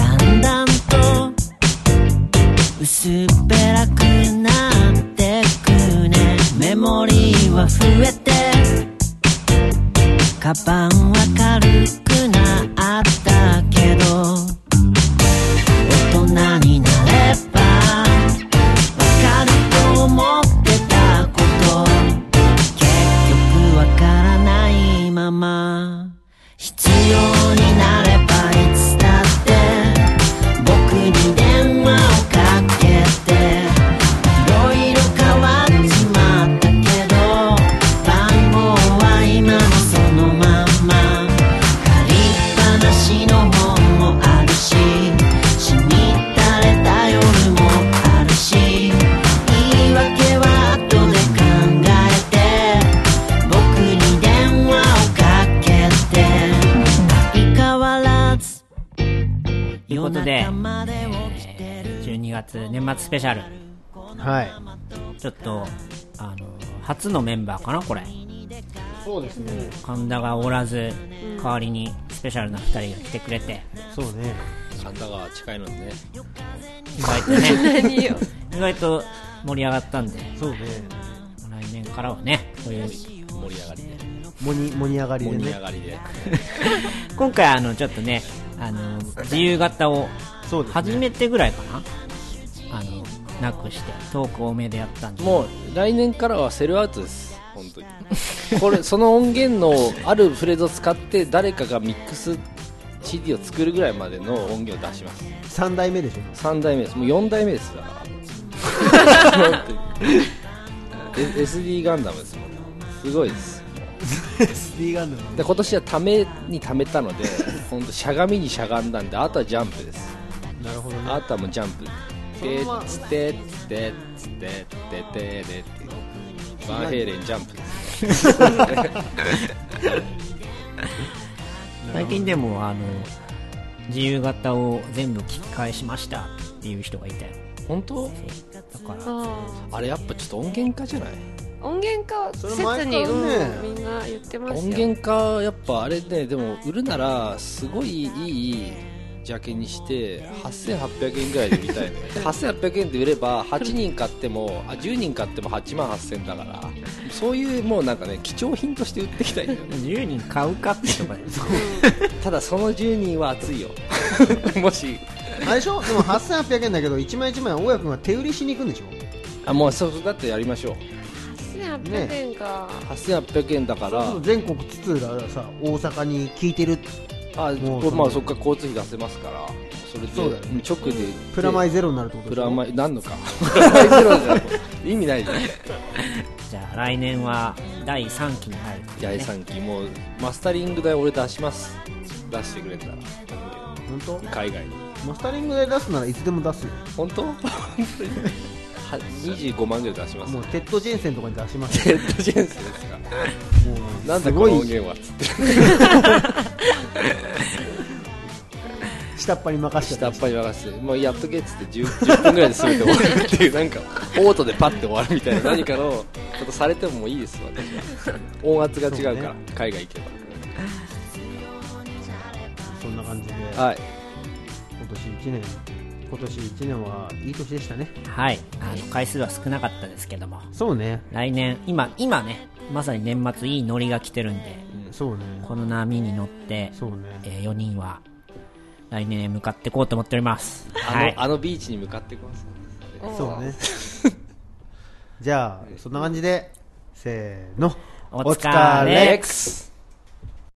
Speaker 3: だんだんと薄っぺらくなってくねメモリーは増えてカバンは軽くなったけど大人になればわかると思ってたこと結局わからないまま必要になればいつだって僕に電話をかけていろいろ変わっちまったけど番号は今のそのまんま借りっぱなしの本もあるし死に垂れた夜もあるし言い訳は後で考えて僕に電話をかけて相変わらずということで、えー12月年末スペシャル
Speaker 1: はい
Speaker 3: ちょっとあの初のメンバーかなこれ
Speaker 1: そうですね
Speaker 3: 神田がおらず代わりにスペシャルな2人が来てくれて
Speaker 1: そうね
Speaker 5: 神田川近いのにね
Speaker 3: 意外とね
Speaker 4: 何よ
Speaker 3: 意外と盛り上がったんで
Speaker 1: そうね
Speaker 3: 来年からはねこういう
Speaker 5: 盛り上がりで
Speaker 1: モニモニ上がりで
Speaker 5: 盛り上
Speaker 1: ね
Speaker 5: がりで
Speaker 3: 今回あのちょっとねあの自由形を
Speaker 1: そうですね
Speaker 3: 初めてぐらいかな、あのなくしてトーク多めでやったんで
Speaker 5: もう来年からはセルアウトです本当にこれその音源のあるフレーズを使って誰かがミックス CD を作るぐらいまでの音源を出します
Speaker 1: 3代目でしょ
Speaker 5: 3代目ですもう4代目ですだから本当に え SD ガンダムですもんすごいです
Speaker 1: SD ガンダム
Speaker 5: で今年はためにためたので本当しゃがみにしゃがんだんであとはジャンプです
Speaker 1: なるほどね
Speaker 5: あとはもうジャンプでつてつてつてててでってバンヘイレンジャンプです
Speaker 3: 最近でもあの自由形を全部聞き返しましたっていう人がいたよ
Speaker 5: 本当
Speaker 3: だから
Speaker 4: あ
Speaker 5: あれやっぱちょっと音源化じゃない
Speaker 4: ー音源化
Speaker 1: それ
Speaker 4: 説
Speaker 1: 前
Speaker 4: に、
Speaker 1: からね
Speaker 4: うんみんな言ってますよ
Speaker 5: 音源化やっぱあれねでも売るならすごいいいジャケにして8800円ぐらいで売りたいね 8800円で売れば8人買ってもあ10人買っても8万8000だからそういうもうなんかね貴重品として売ってきた いんだよね
Speaker 3: 10人買うかってとか
Speaker 5: ただその10人は熱い よもし
Speaker 1: あれでしょでも8800円だけど1枚1枚大家君が手売りしに行くんでしょ
Speaker 5: あもうそうだってやりましょう
Speaker 4: 8800円か、
Speaker 5: 8800円だから
Speaker 1: 全国津々浦々さ大阪に聞いてる
Speaker 5: あ
Speaker 1: もう
Speaker 5: こまあ
Speaker 1: そ
Speaker 5: そ
Speaker 1: の
Speaker 5: っから交通費出せますからそれで
Speaker 1: そうだよね
Speaker 5: 直で
Speaker 1: プラマイ
Speaker 5: ゼ
Speaker 1: ゼロになるってこと
Speaker 5: プ
Speaker 1: でしょ
Speaker 5: ラマイなんのかプラマイゼロじゃん意味ないじゃん
Speaker 3: じゃあ来年は第3期に入る
Speaker 5: 八重さん期もうマスタリング代俺出します出してくれたら
Speaker 1: 本当
Speaker 5: 海外に
Speaker 1: マスタリングで出すならいつでも出すよ
Speaker 5: 本当は25万ぐらい出します
Speaker 1: もうテッド・ジェンセンとかに出しますよ
Speaker 5: テッド・ジェンスですか
Speaker 1: もう
Speaker 5: なん
Speaker 1: す
Speaker 5: だこ
Speaker 1: ご
Speaker 5: の音
Speaker 1: い
Speaker 5: 源はつって
Speaker 1: 下っ端に任せち
Speaker 5: 下
Speaker 1: ゃ
Speaker 5: っ
Speaker 1: った
Speaker 5: 端に任せて、まあ、やっとけっつって 10, 10分ぐらいで全て終わるっていうなんかオートでパッて終わるみたいな何かのことされてももういいです私は音圧が違うから
Speaker 1: そう
Speaker 5: 海外行け
Speaker 1: そんな感じで
Speaker 5: ばはい
Speaker 1: 今年1年今年1年はいい年でしたね
Speaker 3: はいあの回数は少なかったですけども
Speaker 1: そうね
Speaker 3: 来年今今ねまさに年末いいノリが来てるんで
Speaker 1: そうね
Speaker 3: この波に乗って、
Speaker 1: そうね
Speaker 3: え4人は来年へ向かっていこうと思っております
Speaker 5: あの,、
Speaker 3: はい
Speaker 5: あのビーチに向かってこます
Speaker 1: そう ねじゃあそんな感じでせーの
Speaker 3: お疲れ
Speaker 5: レックス